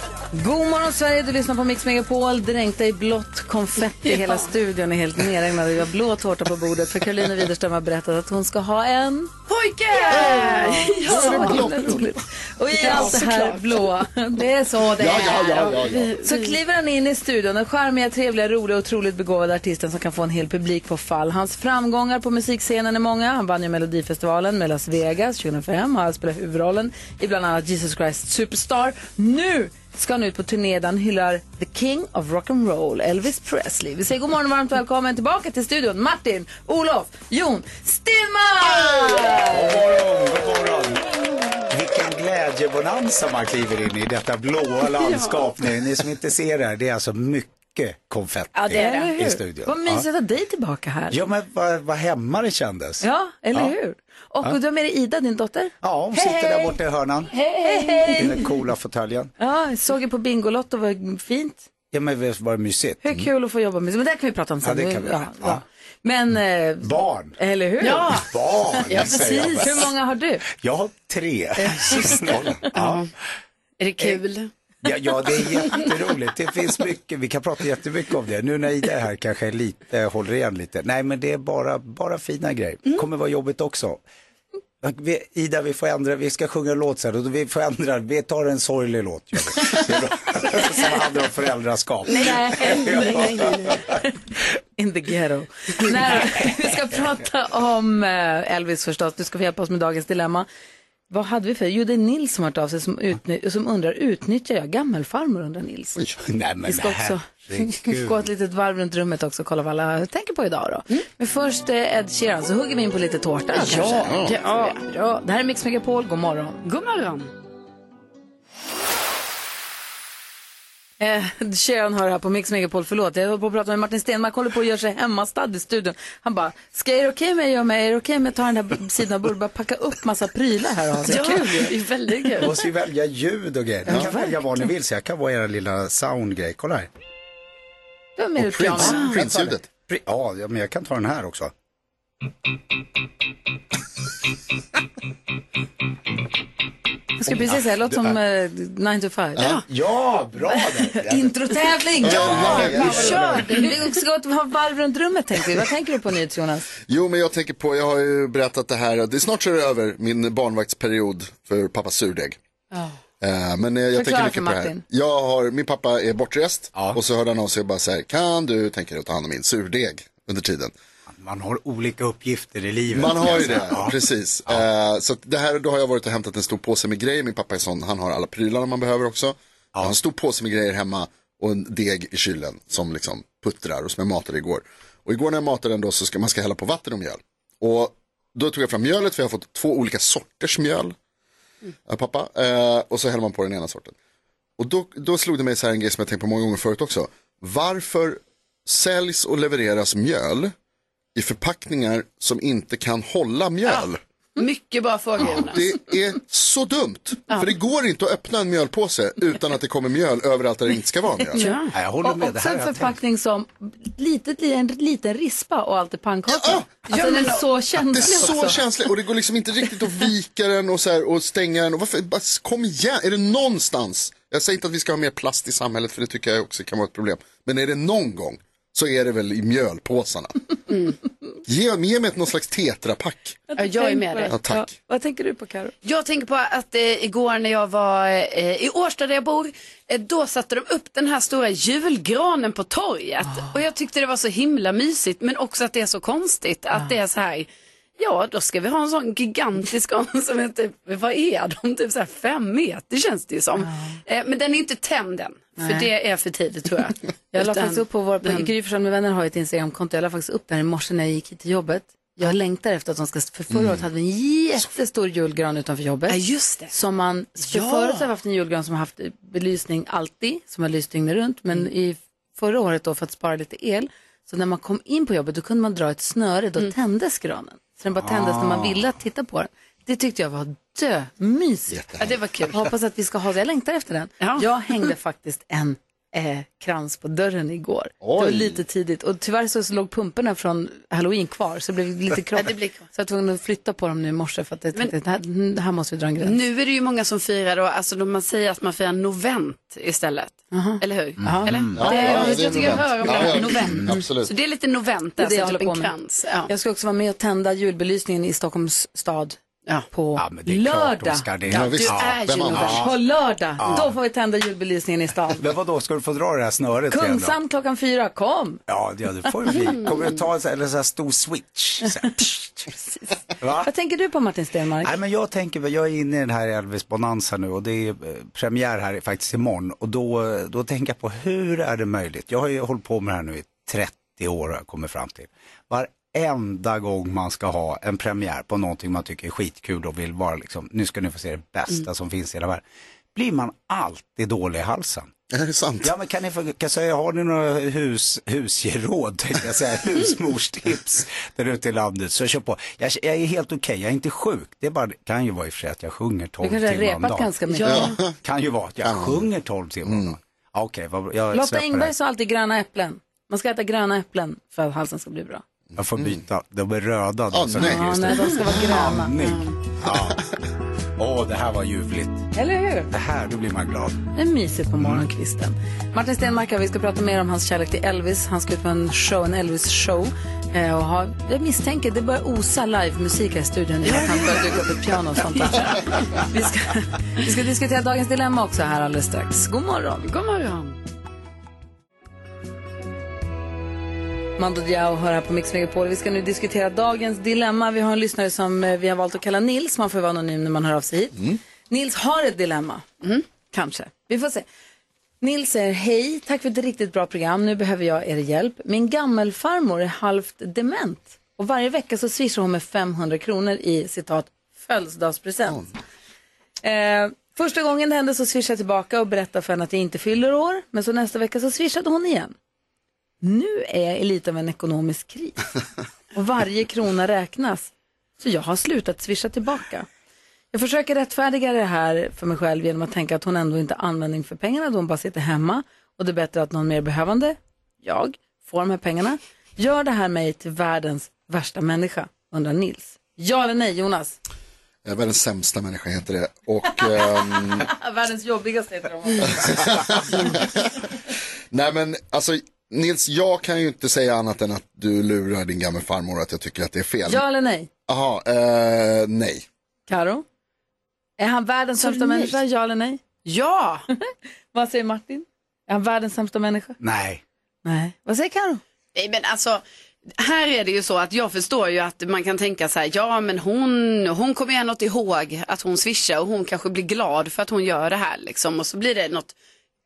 A: God morgon Sverige, du lyssnar på Mix Megapol. Dränkta i blått konfetti. Hela studion är helt nerregnad och vi har blå tårta på bordet. För Karolina Widerström har berättat att hon ska ha en...
D: Pojke!
A: Ja,
B: är det blått.
A: roligt. Och i
D: Ja,
A: allt det här
D: såklart.
A: blåa. Det är så det
B: Ja,
A: är.
B: ja, ja, ja, ja.
A: Så kliver han in i studion, den charmiga, trevliga, roliga och otroligt begåvade artisten som kan få en hel publik på fall. Hans framgångar på musikscenen är många. Han vann ju Melodifestivalen med Las Vegas 2005 och har spelat huvudrollen i bland annat Jesus Christ Superstar. Nu ska han ut på turné där han hyllar the king of rock'n'roll, Elvis Presley. Vi säger god morgon och varmt välkommen tillbaka till studion, Martin, Olof, Jon, Stillman!
K: God morgon, god morgon. Vilken glädjebonanza man kliver in i detta blåa landskap nu. Ni som inte ser det här, det är alltså mycket mycket konfetti
A: Ja, det är det.
K: i studion.
A: Vad
K: Ja.
A: mysigt att ha dig tillbaka här.
K: Ja, men vad, vad hemma det kändes.
A: Ja, eller
K: Ja.
A: hur? Och
K: Ja.
A: du har med dig Ida, din dotter?
K: Ja, Hon sitter där borta i hörnan.
A: Hej,
K: I
A: hej!
K: den coola fåtöljen.
A: Ja, jag såg ju på Bingolotto, vad fint.
K: Ja, men visst var det mysigt?
A: Hur kul att få jobba med, men det här kan vi prata om sen.
K: Mm. Ja, det kan vi.
A: Ja,
K: Ja.
A: ja. Men... Eh,
K: Barn.
A: Eller hur?
K: Ja. Barn,
A: ja,
K: säger jag
A: precis.
K: bara.
A: Hur många har du?
K: Jag har tre syskon. Ja.
D: Är det kul?
K: Ja, ja, det är jätteroligt. Det finns mycket, vi kan prata jättemycket om det. Nu när Ida är här kanske jag lite, eh, håller igen lite. Nej, men det är bara, bara fina grejer. kommer vara jobbigt också. Vi, Ida, vi får ändra, vi ska sjunga en låt sen och vi får ändra, vi tar en sorglig låt. gör vi. Det är bra. Som handlar om föräldraskap.
A: Nej, nej, nej, nej. In the ghetto. Nej, vi ska prata om eh, Elvis förstås. Du ska få hjälpa oss med dagens dilemma. Vad hade vi för? Jo, det är Nils som har hört av sig som, utny- som undrar, utnyttjar jag gammelfarmor? undrar Nils.
K: Nej, men
A: Vi ska också
K: herregud.
A: gå ett litet varv runt rummet också och kolla vad alla tänker på idag då. Men först eh, Ed Sheeran så hugger vi in på lite tårta
D: Ja,
A: kanske.
D: ja.
A: Bra. Det här är Mix Megapol, god morgon.
D: God morgon.
A: Eh, Sharon hör här på Mix Megapol, förlåt, jag höll på att prata med Martin Stenmark, håller på att göra sig hemmastadd i studion. Han bara, ska är det okej med jag med, är det okej med jag tar den här b- sidan av bordet, bara packa upp massa prylar här och ha så
D: Ja,
A: kul.
D: det är väldigt
K: Ni
D: kul.
K: måste ju välja ljud och grejer. Ni kan välja vad ni vill, så jag kan vara era lilla soundgrej. Kolla här.
A: Du har med dig piano.
K: Prinsljudet. Ja, ja, men jag kan ta den här också.
A: Jag skulle precis säga, det låter som eh, 9 to 5. Ja.
K: Ja, bra
A: Introtävling! Ja,
B: Ja,
A: nu kör liksom vi! Vi ska ha varv runt rummet tänker vi. Vad tänker du på nu Jonas?
B: Jo, men jag tänker på, jag har ju berättat det här, det är snart så är det över, min barnvaktsperiod för pappas surdeg. Eh, Men eh, jag
A: Förklara
B: tänker
A: för
B: mycket på det här.
A: Martin.
B: Jag har, min pappa är bortrest och så hörde han av sig och bara så här, kan du tänka dig att ta hand om min surdeg under tiden?
K: Man har olika uppgifter i livet.
B: Man har ju
K: Alltså.
B: det, precis. Eh, så att det här, då har jag varit och hämtat en stor påse med grejer. Min pappa är sån, han har alla prylarna man behöver också. Jag har en stor påse med grejer hemma och en deg i kylen som liksom puttrar och som jag matade igår. Och igår när jag matade den då så ska man ska hälla på vatten och mjöl. Och då tog jag fram mjölet för jag har fått två olika sorters mjöl av pappa. Eh, och så häller man på den ena sorten. Och då, då slog det mig så här en grej som jag tänkt på många gånger förut också. Varför säljs och levereras mjöl i förpackningar som inte kan hålla mjöl?
D: Mycket bra fråga Jonas.
B: Det är så dumt, för det går inte att öppna en mjölpåse utan att det kommer mjöl överallt där det inte ska vara mjöl.
A: Ja.
K: Jag
A: och också en förpackning som litet, en liten rispa och allt är pannkaka. alltså den är så känslig
B: Det är så
A: också.
B: känsligt och det går liksom inte riktigt att vika den och, så här, och stänga den. Och varför, bara, kom igen, är det någonstans? Jag säger inte att vi ska ha mer plast i samhället för det tycker jag också kan vara ett problem. Men är det någon gång så är det väl i mjölpåsarna.
D: Mm.
B: Ge, ge mig ett någon slags tetrapack.
D: Ja, jag är med dig.
B: Ja, tack.
A: Vad tänker du på Karo?
D: Jag tänker på att eh, igår när jag var eh, i Årsta där jag bor, eh, då satte de upp den här stora julgranen på torget.
A: Ah.
D: Och jag tyckte det var så himla mysigt, men också att det är så konstigt
A: Ah.
D: att det är så här, ja då ska vi ha en sån gigantisk gran som är typ, vad är de, typ så här fem meter känns det ju som. Eh, men den är inte tänd än, för
A: Ah. Nej.
D: det är för tidigt tror jag.
A: Jag la
D: Utan
A: faktiskt upp på vår,
D: den-
A: på Gry Forssell med vänner har ju ett Instagramkonto. Jag la faktiskt upp den i morse när jag gick hit till jobbet. Jag längtar efter att de ska, för förra året hade vi en jättestor julgran utanför jobbet.
D: Ja, just det.
A: Som man, för
D: Ja.
A: förut har vi haft en julgran som har haft belysning alltid, som har lyst dygnet runt. Men
D: Mm.
A: i förra året då för att spara lite el, så när man kom in på jobbet då kunde man dra ett snöre,
D: Mm.
A: då tändes granen. Så den bara tändes när
D: Ah.
A: man ville att titta på den. Det tyckte jag var dömysigt.
D: Ja, det var kul.
A: Jag hoppas att vi ska ha det. Jag längtar efter den. Jag hängde faktiskt en eh, krans på dörren igår. Det var
D: Oj.
A: lite tidigt. Och tyvärr så, så låg pumporna från halloween kvar, så det blev lite kropp.
D: Ja, det blir
A: så jag var tvungen att flytta på dem nu i morse för att jag tänkte, det, här, det här måste vi dra en gräns.
D: Nu är det ju många som firar, då, alltså då man säger att man firar novent istället. Eller hur?
A: Mm.
D: Eller?
A: Ja,
D: det,
A: ja, det är
D: jag tycker jag
A: novent.
D: hör om det.
A: Ja, ja.
D: novent.
A: Absolut.
D: Så det är lite novent,
A: Det är det
D: alltså
A: jag
D: typ
A: håller
D: en
A: på med.
D: krans. Ja.
A: Jag ska också vara med och tända julbelysningen i Stockholms stad på
K: det är klart
A: lördag.
K: de ska det. Ja, visst.
A: du
K: Ja,
A: är
K: vem
A: ju
K: annars?
A: novent.
K: Ja.
A: På lördag,
K: Ja.
A: då får vi tända julbelysningen i stan.
K: Men vadå, ska du få dra det här snöret igen då?
A: Kungsan klockan fyra, kom!
K: Ja, det- ja, det får det bli. Kommer du ta en sån här, eller så här stor switch? Så här, Va?
A: Vad tänker du på Martin Stenmarck?
K: Nej, men jag tänker, väl- jag är inne i den här Elvis Bonanza nu och det är eh, premiär här faktiskt imorgon. Och då, då tänker jag på hur är det möjligt? Jag har ju hållit på med det här nu i 30 år har jag kommit fram till. Varenda gång man ska ha en premiär på någonting man tycker är skitkul och vill vara liksom, nu ska ni få se det bästa som finns i hela världen. blir man alltid dålig i halsen.
B: Är det sant?
K: Ja, men kan ni få- kan säga, har ni några hus, husgeråd, tänkte jag säga, husmorstips där ute i landet så kör på. Jag, jag är helt okej, jag är inte sjuk. Det är bara, kan ju vara i och för sig att jag sjunger 12
A: kanske har
K: timmar om
A: repat
K: dagen.
A: ganska mycket. Ja.
K: Kan ju vara att jag sjunger 12 timmar om dagen. Ja, Okej, vad bra. Jag
A: Lotta
K: släpper
A: Engberg
K: det.
A: sa alltid gröna äpplen. Man ska äta gröna äpplen för att halsen ska bli bra.
K: Jag får byta, de är röda.
A: Åh, nej. Ja, nej, de ska vara gröna.
K: Andning. Ja. Åh, det här var ljuvligt.
A: Eller hur?
K: Det här, då blir man glad. Mm.
A: Det är mysigt på morgonkvisten. Martin Stenmarck, här, vi ska prata mer om hans kärlek till Elvis. Han ska ut på en show, en Elvis-show. Eh, och har, jag misstänker, det börjar osa livemusik här i studion i och med att han börjar dyka upp ett piano och sånt där. Vi ska, vi ska diskutera dagens dilemma också här alldeles strax. God morgon.
D: God morgon.
A: Mando Diao hör här på Mix Megapol. Vi ska nu diskutera dagens dilemma. Vi har en lyssnare som eh, vi har valt att kalla Nils. Man får ju vara anonym när man hör av sig hit. Nils har ett dilemma. Kanske. Vi får se. Nils säger hej, tack för ett riktigt bra program. Nu behöver jag er hjälp. Min gammelfarmor är halvt dement och varje vecka så swishar hon med 500 kronor i citat födelsedagspresent. Eh, första gången det hände så swishade jag tillbaka och berättade för henne att jag inte fyller år. Men så nästa vecka så swishade hon igen. Nu är jag i lite av en ekonomisk kris och varje krona räknas. Så jag har slutat swisha tillbaka. Jag försöker rättfärdiga det här för mig själv genom att tänka att hon ändå inte har användning för pengarna då hon bara sitter hemma och det är bättre att någon mer behövande, jag, får de här pengarna. Gör det här mig till världens värsta människa, undrar Nils. Ja eller nej Jonas?
B: Jag är världens sämsta människa heter det. Och, ehm,
A: Världens jobbigaste heter de.
B: nej men alltså Nils, jag kan ju inte säga annat än att du lurar din gamla farmor att jag tycker att det är fel.
A: Ja eller nej?
B: Jaha, eh, nej.
A: Karo? Är han världens sämsta
D: nej.
A: människa, ja eller nej?
D: Ja!
A: Vad säger Martin? Är han världens sämsta människa?
K: Nej.
A: Nej. Vad säger Karo?
D: Nej men alltså, här är det ju så att jag förstår ju att man kan tänka så här, ja men hon, hon kommer ju ändå inte ihåg att hon swishar och hon kanske blir glad för att hon gör det här liksom och så blir det något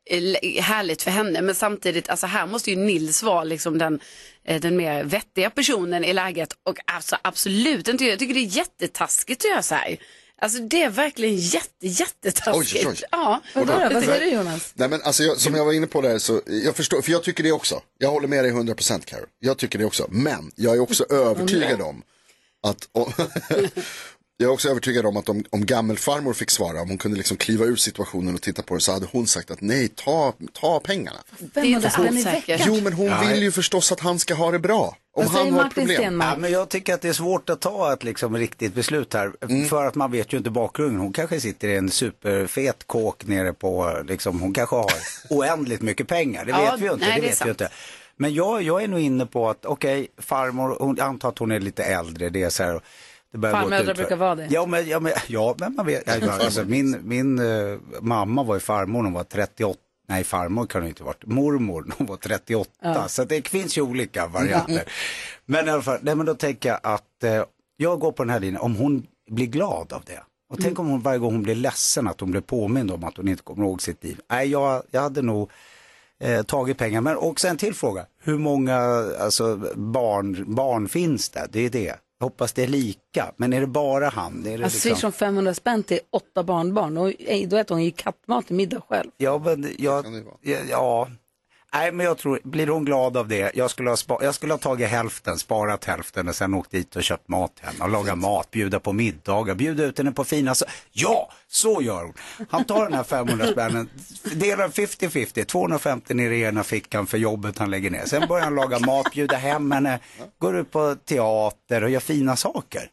D: eh, härligt för henne men samtidigt, alltså här måste ju Nils vara liksom den, eh, den mer vettiga personen i läget och alltså absolut inte, jag tycker det är jättetaskigt att göra så här. Alltså det är verkligen jätte, jättetaskigt.
B: Oj, oj, oj.
D: Ja.
B: Vadå då?
A: Vad säger du Jonas?
B: Nej men alltså jag, som jag var inne på där så, jag förstår, för jag tycker det också. Jag håller med dig 100% Carro. Jag tycker det också. Men jag är också övertygad om att, jag är också övertygad om att om, om gammelfarmor fick svara, om hon kunde liksom kliva ur situationen och titta på det så hade hon sagt att nej, ta, ta pengarna.
A: Vem har
D: inte
A: det spänn i
D: osäkert.
A: veckan?
B: Jo men hon
K: Nej.
B: vill ju förstås att han ska ha det bra. Om
A: Vad säger
B: han har
A: Martin
B: problem.
A: Stenmarck?
K: Ja, men jag tycker att det är svårt att ta ett liksom, riktigt beslut här. För att man vet ju inte bakgrunden. Hon kanske sitter i en superfet kåk nere på, liksom, hon kanske har oändligt mycket pengar. Det
D: Ja,
K: vet vi ju inte.
D: nej,
K: det
D: det är
K: vet vi
D: sant.
K: ju inte. Men jag, jag är nog inne på att, okej, farmor, hon, jag antar att hon är lite äldre. Det är så här, det börjar gå åt
A: Farmödrar
K: utför.
A: brukar vara det.
K: Ja, men, ja, men, ja, men man vet. ja, Alltså, min min eh, mamma var ju farmor, när hon var 38. Nej, farmor kan hon inte ha varit. Mormor, när hon var 38. Så att det finns ju olika varianter. Men i alla fall, nej, men då tänker jag att eh, jag går på den här linjen, om hon blir glad av det. Och tänk om hon varje gång hon blir ledsen att hon blir påmind om att hon inte kommer ihåg sitt liv. Nej, jag, jag hade nog eh, tagit pengar. Men också en till fråga. Hur många alltså, barn, barn finns det? Det är det. Jag hoppas det är lika. Men är det bara han? Är det
A: Jag swishar om 500 liksom spänn till åtta barnbarn och eh, då äter hon ju kattmat till middag själv.
K: Ja, men jag,
B: det vara.
K: ja, ja. Nej, men jag tror, blir hon glad av det? Jag skulle, ha spa, jag skulle ha tagit hälften, sparat hälften och sen åkt dit och köpt mat hem. Och lagat mat, bjuda på middagar, bjuda ut henne på fina så Ja, så gör hon. Han tar den här 500 spännen, delar 50-50, 250 ner i ena fickan för jobbet han lägger ner. Sen börjar han laga mat, bjuda hem henne, går ut på teater och gör fina saker.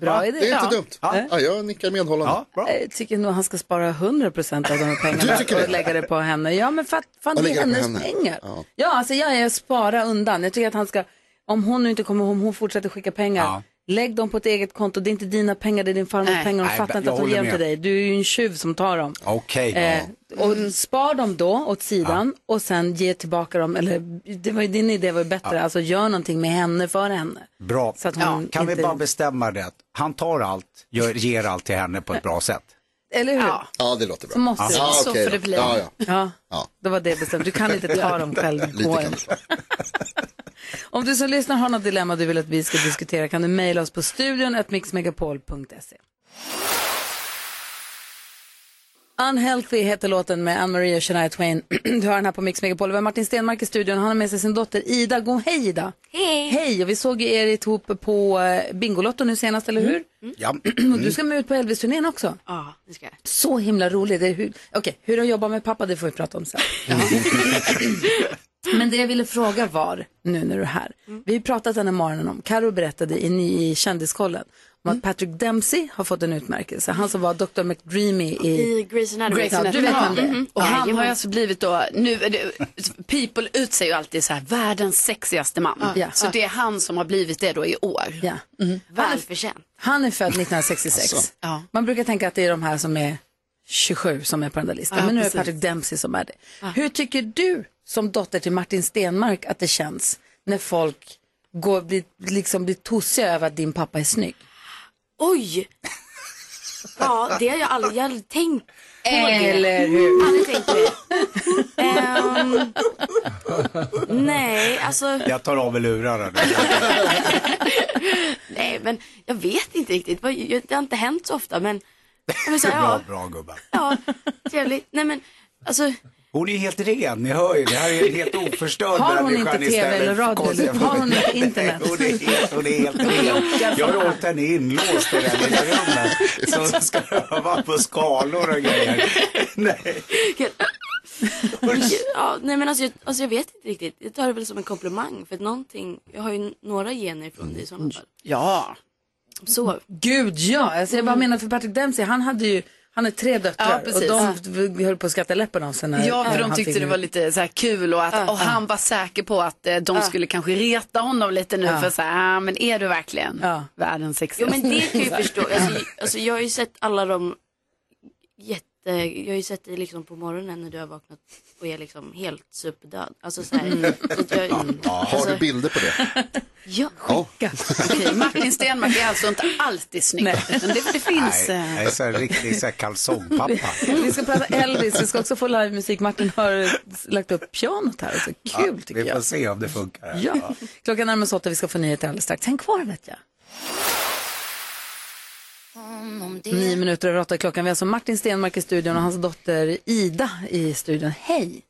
A: Bra
B: Det
A: idé.
B: är
A: Ja.
B: inte dumt. Ja. jag nickar medhållande.
K: Ja, bra.
A: Jag Eh, tycker nog han ska spara 100% av de här pengarna
B: Du tycker
A: och
B: det?
A: lägga det på henne. Ja, men för att fan,
B: Ja,
A: det är
B: lägga det på
A: hennes
B: henne.
A: pengar. Ja.
B: Ja.
A: alltså jag är spara undan. Jag tycker att han ska, om hon nu inte kommer om hon fortsätter skicka pengar,
K: Ja.
A: lägg dem på ett eget konto. Det är inte dina pengar, det är din farmors
D: Nej.
A: pengar. Hon
K: Nej,
A: fattar
K: jag
A: inte att hon
K: håller
A: ger dem
K: med.
A: till dig. Du är ju en tjuv som tar dem.
K: Okej.
A: Eh, och spar dem då åt sidan och sen ge tillbaka dem, eller det var ju, din idé var ju bättre, alltså gör någonting med henne för henne.
K: Bra.
A: Så att hon
K: Kan
A: inte-
K: vi bara bestämma det? att Han tar allt, gör, ger allt till henne på ett bra sätt.
A: Eller hur? Ja.
B: Ja, det låter bra.
A: Så måste det vara.
B: ja,
D: Så
B: okej
D: får
B: då.
D: det bli.
B: Ja, ja. Ja.
A: det var det bestämt. Du kan inte ta dem själv.
B: Lite
A: Gå
B: kan
A: inte.
B: det vara.
A: Om du som lyssnar har något dilemma du vill att vi ska diskutera kan du mejla oss på studion mixmegapol.se. Unhealthy heter låten med Ann-Marie och Shania Twain. du hör den här på Mix Megapol. Vi har Martin Stenmark i studion. Han har med sig sin dotter Ida. God hej Ida! Hej! Hej! Och vi såg ju er ihop på eh, Bingolotto nu senast, eller hur?
K: Ja.
A: Och du ska med ut på Elvis-turnén också.
L: Mm. Ja, det ska jag.
A: Så himla roligt. Det är hur... Okej, hur de jobbar med pappa, det får vi prata om sen. Men det jag ville fråga var, nu när du är här. Vi har ju pratat den här morgonen om, Karo berättade i, ny- i Kändiskollen om att Patrick Dempsey har fått en utmärkelse. Han som var Dr. McDreamy i...
L: I Grey's Anatomy.
A: Grey's Anatomy. Mm-hmm. Du vet vem det är.
L: Mhm. Och han har ju alltså blivit då, nu, är det- people utser ju alltid så här, världens sexigaste man.
A: Ja.
L: Så det är han som har blivit det då i år.
A: Ja. Mm.
L: Välförtjänt.
A: Han är född 1966.
L: Alltså. Ja.
A: Man brukar tänka att det är de här som är 27 som är på den där listan.
L: Ja,
A: Men nu
L: precis.
A: är det Patrick Dempsey som är det. Hur tycker du som dotter till Martin Stenmark att det känns när folk går, blir, liksom blir tossiga över att din pappa är snygg?
L: Oj! Ja, det har jag aldrig, jag har aldrig tänkt på
A: Eller
L: det.
A: hur?
L: Aldrig tänkt på det. Ehm, nej, alltså.
K: Jag tar av mig lurarna nu.
L: Nej, men jag vet inte riktigt. Vad- jag- Det har inte hänt så ofta, men. ja, men så här,
K: Bra, bra gubbar.
L: ja, ja, trevligt. Nej, men alltså.
K: Hon är ju helt ren, ni hör ju. Det här är ju en helt oförstörd
L: Har hon
K: människa
L: inte
K: istället
L: TV eller
K: för
L: radio?
K: konstiga
L: Har hon
K: folk.
L: inte internet?
K: Nej, hon, är helt, hon är helt ren. Jag har åkt henne inlåst i det här lilla rummet. Så hon ska öva på skalor och grejer.
L: Ja, nej, men alltså jag, alltså jag vet inte riktigt. Jag tar det väl som en komplimang för att någonting, jag har ju några gener från det i
A: Mm.
L: sådana fall.
A: Ja.
L: Så.
A: Gud ja, alltså jag bara menar för Patrick Dempsey, han hade ju, han har tre döttrar
L: Mm. Ja,
A: och
L: precis.
A: de v- höll på att skratta läppen av sig när
L: Ja, för
A: när
L: de
A: han
L: tyckte
A: fick-
L: det var lite så här kul och att och han var säker på att eh, de skulle kanske reta honom lite nu
A: Ja.
L: för så här, ah, men är du verkligen världens
A: Jo,
L: sexigaste?
A: men det kan jag
L: Så här.
A: förstå.
L: Ja.
A: Alltså,
L: jag har ju sett alla de jätte, jag har ju sett dig liksom på morgonen när du har vaknat och är liksom helt superdöd. Alltså så här,
B: Mm. Har
A: Alltså.
B: du bilder på det?
L: Ja,
B: Ja.
L: Okej, Martin Stenmarck är alltså inte alltid snygg. utan Det, det finns... eh,
K: Nej, jag är så här riktig så här kalsongpappa.
A: Vi ska prata Elvis, vi ska också få livemusik. Martin har lagt upp pianot här, så kul.
K: tycker jag. Vi får se om det funkar.
A: Ja. Klockan närmar sig åtta, vi ska få nyheter alldeles strax. Häng kvar vet jag. Nio minuter över åtta är klockan. Vi har alltså Martin Stenmark i studion och hans dotter Ida i studion. Hej!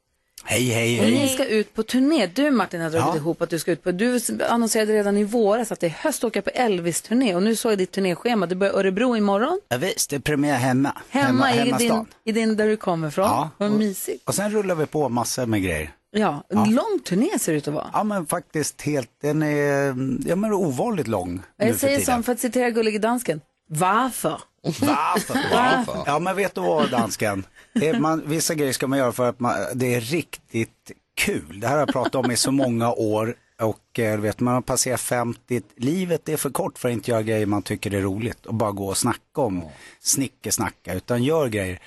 K: Hej, hej,
A: Och
K: hej.
A: ni ska ut på turné. Du Martin har dragit
K: Ja.
A: ihop att du ska ut på, du annonserade redan i våras att det är höst åka på Elvis-turné och nu såg jag ditt turnéschema. Du börjar Örebro imorgon.
K: Ja, visst, det är premiär hemma.
A: Hemma,
K: hemmastan.
A: i, din, i din, där du kommer ifrån.
K: Ja.
A: Vad mysigt.
K: Och sen rullar vi på massor med grejer.
A: Ja, en lång turné ser det ut att vara.
K: Ja men faktiskt helt, den är, ja men ovanligt lång nu
A: Jag
K: för
A: säger
K: tiden.
A: som för att citera Gullige Dansken. Varför?
K: Varför?
A: Varför?
K: Ja men vet du vad dansken? Det är, man, vissa grejer ska man göra för att man, det är riktigt kul. Det här har jag pratat om i så många år och eh, du vet, man har passerat 50. Livet är för kort för att inte göra grejer man tycker är roligt och bara gå och snacka om snickesnacka utan gör grejer.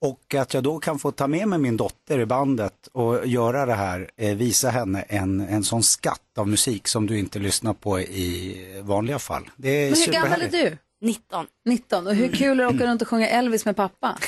K: Och att jag då kan få ta med mig min dotter i bandet och göra det här, eh, visa henne en, en sån skatt av musik som du inte lyssnar på i vanliga fall. Det är
A: Men hur gammal är
K: superhärligt. Mm.
A: du?
L: 19.
A: 19. Och hur kul är det att åka runt och sjunga Elvis med pappa?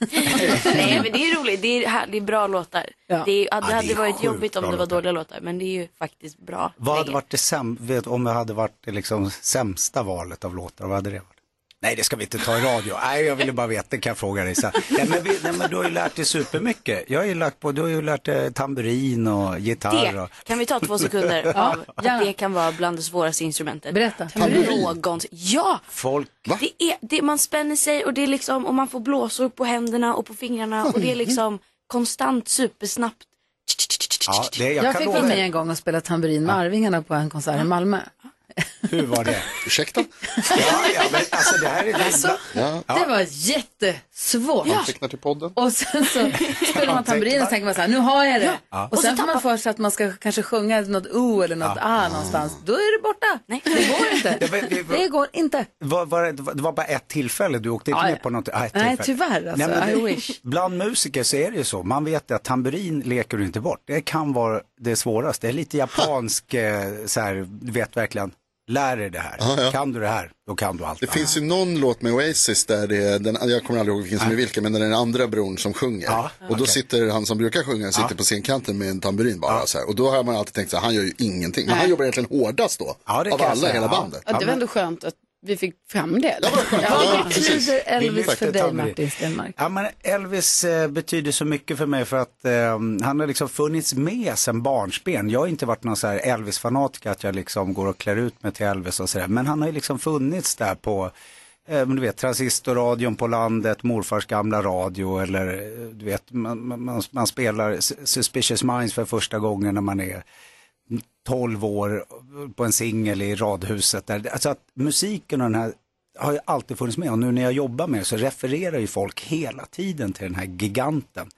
L: Nej, men det är roligt. Det är, här, det är bra låtar.
K: Ja.
L: Det, är,
K: Ja, det
L: det hade
K: är
L: varit
K: sjukt
L: jobbigt om
K: bra
L: det var
K: låtar.
L: dåliga låtar, men det är ju faktiskt bra.
K: Vad hade varit det säm- vet, om det hade varit det liksom sämsta valet av låtar, vad hade det varit? Nej, det ska vi inte ta i radio. Nej, jag ville bara veta, det kan jag fråga dig sen. Nej, men, vi, nej, men du har ju lärt dig supermycket. Jag har ju lärt på, du har ju lärt dig tamburin och gitarr.
L: Det
K: Och...
L: kan vi ta två sekunder av. Att det kan vara bland det svåraste instrumentet.
A: Berätta.
K: Tamburin?
L: Någons. Ja!
K: Folk,
L: Det är, det, man spänner sig och det är liksom, och man får blåsor på händerna och på fingrarna och det är liksom konstant supersnabbt.
K: ja, det, jag,
A: Jag,
K: kan
A: fick vara
K: lova
A: med
K: dig.
A: en gång och spela tamburin med Arvingarna på en konsert i Malmö.
K: Hur var det?
B: Ursäkta?
K: Ja, ja, men alltså det här är... Alltså,
B: ja.
A: Det var jättesvårt.
B: Antecknar till podden.
A: Och sen så spelar man tamburin och så tänker man så här, nu har jag det.
B: Ja.
A: Och sen får man för sig att man ska kanske sjunga något O eller något A någonstans. Då är det borta. Det går inte. Det går inte.
K: Var, var, det- det var bara ett tillfälle, du åkte inte
A: Ja,
K: med
A: ja.
K: på något? ah, ett
A: Nej,
K: tillfälle.
A: tyvärr, alltså.
K: men
A: I wish.
K: Bland musiker så är det ju så, man vet att tamburin leker du inte bort. Det kan vara det svåraste, det är lite japansk, eh, så här, du vet verkligen, lär dig det här. Kan du det här, då kan du allt.
B: Det finns ju någon låt med Oasis där det är, den, jag kommer aldrig ihåg vilken som är vilken, men det är den andra bron som sjunger. och då sitter han som brukar sjunga, sitter på scenkanten med en tamburin bara så här. Och då har man alltid tänkt så här, han gör ju ingenting. Men han jobbar egentligen hårdast då,
K: Ja, det
B: av
K: kan jag
B: alla i
K: säga.
B: hela
K: Ja.
B: bandet.
D: Ja, det var ändå skönt att vi fick fram det. Eller?
A: Vad betyder
K: precis. Vi
A: Elvis
K: lyfte
A: för dig
K: Tamri.
A: Martin Stenmark?
K: Ja, men Elvis eh, betyder så mycket för mig för att eh, han har liksom funnits med sedan barnsben. Jag har inte varit någon så här Elvis-fanatiker att jag liksom går och klär ut mig till Elvis och sådär. Men han har ju liksom funnits där på, eh, men du vet, transistorradion på landet, morfars gamla radio eller eh, du vet, man, man- man, man spelar S- Suspicious Minds för första gången när man är 12 år på en singel i radhuset. Där. Alltså att musiken och den här har ju alltid funnits med och nu när jag jobbar med det så refererar ju folk hela tiden till den här giganten.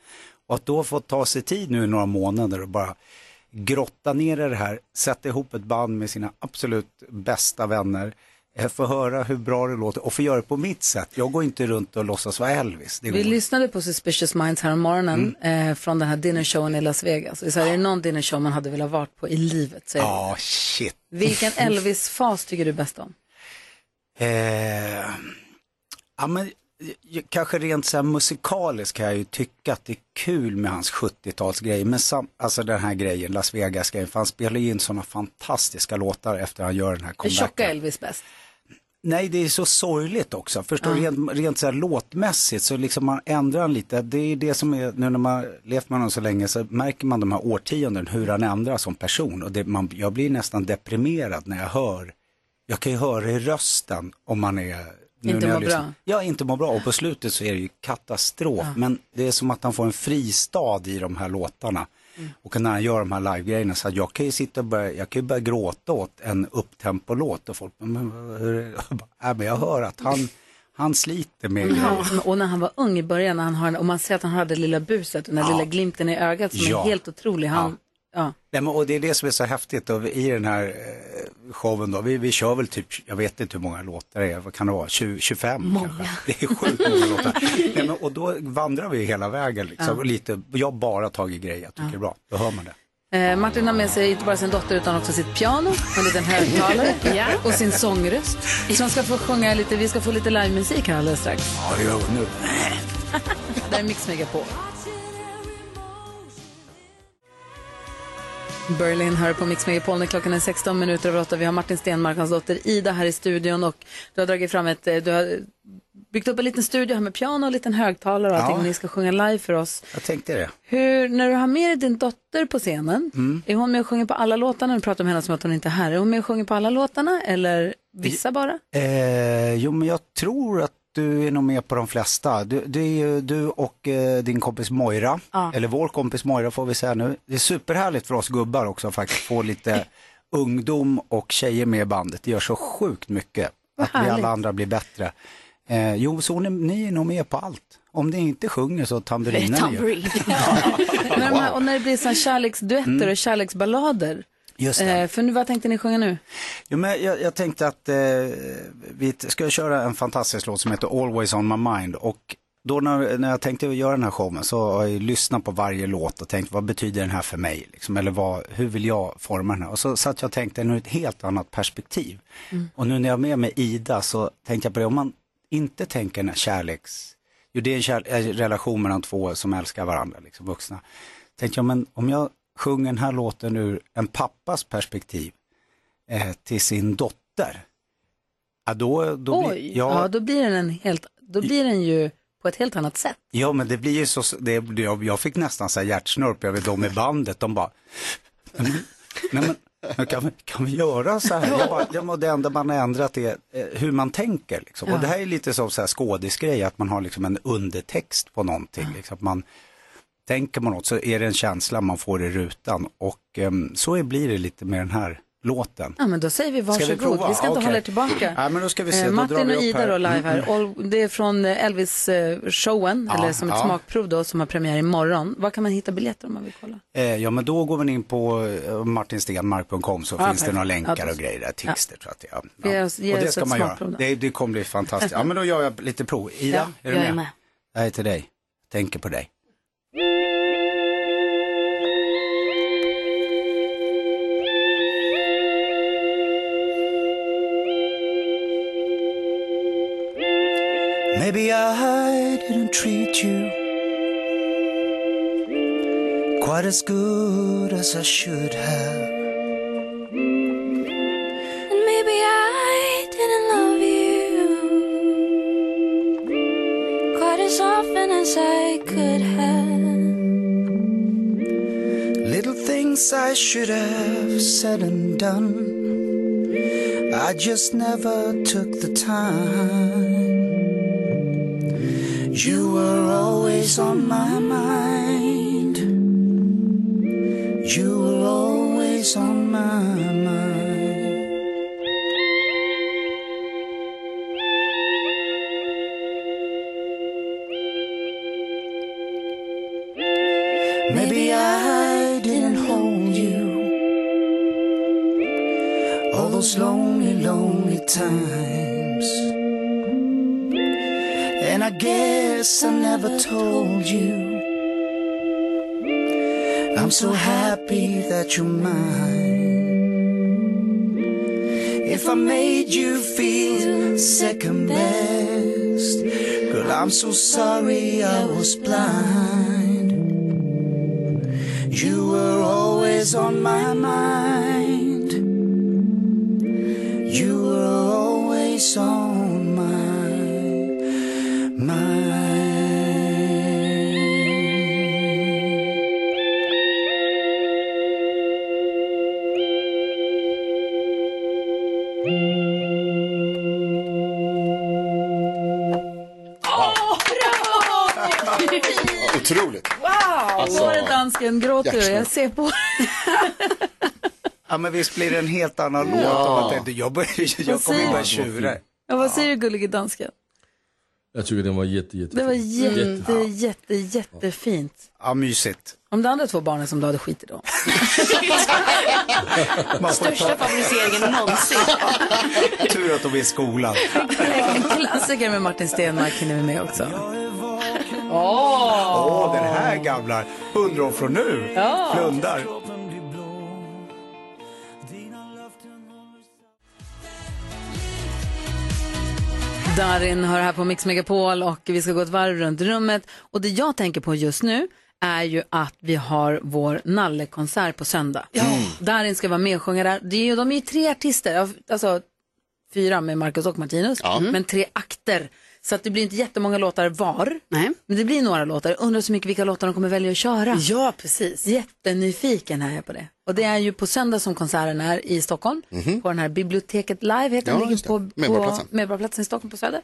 K: Och att då få ta sig tid nu i några månader och bara grotta ner i det här, sätta ihop ett band med sina absolut bästa vänner, eh, få höra hur bra det låter och få göra det på mitt sätt. Jag går inte runt och låtsas vara Elvis. Det Mm. går
A: Vi lyssnade på Suspicious Minds här om morgonen eh, från den här dinnershowen i Las Vegas. Och så här, är det någon dinnershow man hade velat varit på i livet så är det.
K: Ja, shit.
A: Vilken Elvis-fas tycker du bäst om?
K: Eh, ja, men, j- kanske rent så här musikaliskt kan jag ju tycka att det är kul med hans 70-talsgrej. Men sam, alltså den här grejen, Las Vegas-grejen, för han spelar ju in sådana fantastiska låtar efter han gör den här
A: Är
K: comebacken.
A: tjocka Elvis bäst?
K: Nej, det är så sorgligt också. Förstår du, rent, rent så här låtmässigt så liksom man ändrar han lite. Det är det som är, nu när man har levt med honom så länge så märker man de här årtionden hur han ändras som person. Och det, man, jag blir nästan deprimerad när jag hör, jag kan ju höra i rösten om man är... nu
A: Inte
K: när jag
A: mår
K: lyssnar-
A: bra.
K: Ja, inte mår bra. Och på slutet så är det ju katastrof.
A: Ja.
K: Men det är som att han får en fristad i de här låtarna.
A: Mm.
K: Och när han gör de här live-grejerna så att jag kan ju sitta och börja, jag kan ju börja gråta åt en upptempo-låt och folk, men vad- hur är det? Jag bara, "Nej, men jag hör att han, han sliter med grejer.
A: Han, och när han var ung i början, när han har, och man ser att han har det lilla buset och den där
K: Ja.
A: lilla glimten i ögat som
K: Ja.
A: är helt otrolig. Han, ja.
K: Nej, men, och det är det som är så häftigt och i den här eh, showen då, vi, vi kör väl typ, jag vet inte hur många låtar det är, vad kan det vara, 20, 25 kanske? Det är sjukt många låtar. Nej, men, och då vandrar vi hela vägen liksom,
A: Ja.
K: och lite, jag har bara tagit grejer jag tycker är bra, då hör man det.
A: Eh, Martin har med sig inte bara sin dotter utan också sitt piano, en liten högtalare
D: Ja.
A: och sin sångröst. Så han ska få sjunga lite, vi ska få lite livemusik här alldeles strax.
K: Ja, det gör vi nu.
A: Där är Mix Megapol. Berlin hör på Mix Megapol när klockan är 16 minuter över 8. Vi har Martin Stenmarck, hans dotter Ida här i studion och du har dragit fram ett, eh, du har byggt upp en liten studio här med piano och liten högtalare och allting.
K: Ja.
A: Ni ska sjunga live för oss.
K: Jag tänkte det.
A: Hur, när du har med dig din dotter på scenen,
K: Mm.
A: är hon med och sjunger på alla låtarna? Du pratar om henne som att hon inte är här. Är hon med och sjunger på alla låtarna eller vissa bara?
K: Eh, jo, men jag tror att du är nog med på de flesta. Du, det är ju du och eh, din kompis Moira,
A: Ja.
K: eller vår kompis Moira får vi säga nu. Det är superhärligt för oss gubbar också att faktiskt få lite ungdom och tjejer med i bandet. Det gör så sjukt mycket att vi
A: härligt.
K: alla andra blir bättre. Eh, jo, så ni, ni är nog med på allt. Om ni inte sjunger så tamburinar ni ju.
A: När de här, och när det blir så här kärleksduetter
K: Mm.
A: och kärleksballader.
K: Just det.
A: Eh, för nu, vad tänkte ni sjunga nu?
K: Jo, men jag, jag tänkte att eh, vi t- ska köra en fantastisk låt som heter Always on my mind. Och då när, när jag tänkte göra den här showen så har jag lyssnat på varje låt och tänkt vad betyder den här för mig? Liksom, eller vad, hur vill jag forma den här? Och så satt jag och tänkte den ur ett helt annat perspektiv.
A: Mm.
K: Och nu när jag är med mig Ida så tänkte jag på det, om man inte tänker den här kärleks... Jo, det är en kär, eh, relation mellan två som älskar varandra, liksom vuxna. Tänkte jag, men om jag sjunger den här låten ur en pappas perspektiv eh, till sin dotter. Ja, då, då
A: Oj,
K: blir,
A: ja.
K: ja,
A: då blir den en helt, då blir den ju på ett helt annat sätt.
K: ja, men det blir ju så, det, det- jag, jag fick nästan så här hjärtsnörp, jag vet de i bandet, de bara, "Mm, nej men, men kan, vi, kan vi göra så här? Jag bara, jag, må- det enda man har ändrat är eh, hur man tänker. Liksom. Och det här är lite som så här skådisgrej, att man har liksom en undertext på någonting. Liksom. Att man, tänker man något så är det en känsla man får i rutan och ehm, så är- blir det lite med den här låten.
A: Ja, men då säger vi varsågod.
K: Ska vi prova?
A: vi ska inte
K: Okej.
A: hålla er tillbaka.
K: Nej, men då ska vi se.
A: Eh,
K: Då drar
A: Martin
K: vi
A: och
K: upp
A: Ida
K: här.
A: då live här.
K: Mm.
A: Och det är från eh, Elvis-showen,
K: Ja,
A: eller som ett
K: ja.
A: smakprov då, som har premiär imorgon. Var kan man hitta biljetter om man vill kolla?
K: Eh, ja, men då går man in på eh, martinstenmark.com så
A: Ja,
K: finns det
A: perfekt.
K: några
A: Ja,
K: länkar
A: då-
K: och grejer där, texter tror jag att det
A: Ge
K: är. Ja.
A: oss- ge
K: och det
A: oss
K: ska
A: ett
K: man
A: smakprov
K: göra.
A: då.
K: Det, det kommer bli fantastiskt. Ja, men då gör jag lite prov. Ida,
A: Ja,
K: är du
A: jag
K: med?
A: är med.
K: Det här är till dig. Tänker på dig.
M: Maybe I didn't treat you quite as good as I should have.
N: And maybe I didn't love you as often as I could have.
M: Little things I should have said and done. I just never took the time. You were always on my mind. You were always on my mind. Maybe I didn't hold you all those lonely, lonely times. And I guess I never told you. I'm so happy that you're mine. If I made you feel second best, girl, I'm so sorry I was blind. You were always on my mind. You were always on my mind.
B: Otroligt.
A: Wow!
B: Alltså,
A: Var det dansken gråter du?
K: hjärtsmärt.
A: Jag ser på
K: Ja men visst blir det en helt annan
A: Ja.
K: låt om man tänkte, jag, börjar, jag kommer ju
A: säger
K: börja
A: du?
K: tjura.
A: ja, Vad säger du gullige dansken?
C: Jag tycker den var jätte, jätte...
A: Det var jätte,
C: Jättefint.
A: jätte, jätte, jättefint.
K: Ja mysigt.
A: Om de andra två barnen som du hade skit i då.
K: Största
A: favoriseringen någonsin.
K: Tur att de är i skolan.
A: En klassiker med Martin Stenmarck hinner vi med också.
K: Åh,
A: Åh!
K: den här gamla. Hundra år från nu.
A: Ja.
K: Blundar.
A: Darin hör här på Mix Megapol och vi ska gå ett varv runt rummet. Och det jag tänker på just nu är ju att vi har vår Nalle-konsert på söndag. Mm. Darin ska vara med och sjunga där. Det är ju, de är ju tre artister, alltså fyra med Marcus och Martinus, men tre akter. Så att det blir inte jättemånga låtar var,
D: Nej.
A: men det blir några låtar. Jag Undrar så mycket vilka låtar de kommer välja att köra.
D: Ja, precis.
A: Jättenyfiken är jag på det. Och det är ju på söndag som konserten är i Stockholm, på den här Biblioteket Live heter
B: Mhm. Ja,
A: den,
B: just
A: ligger
B: det.
A: på, på
B: Medborgarplatsen.
A: Medborgarplatsen i Stockholm på Söder.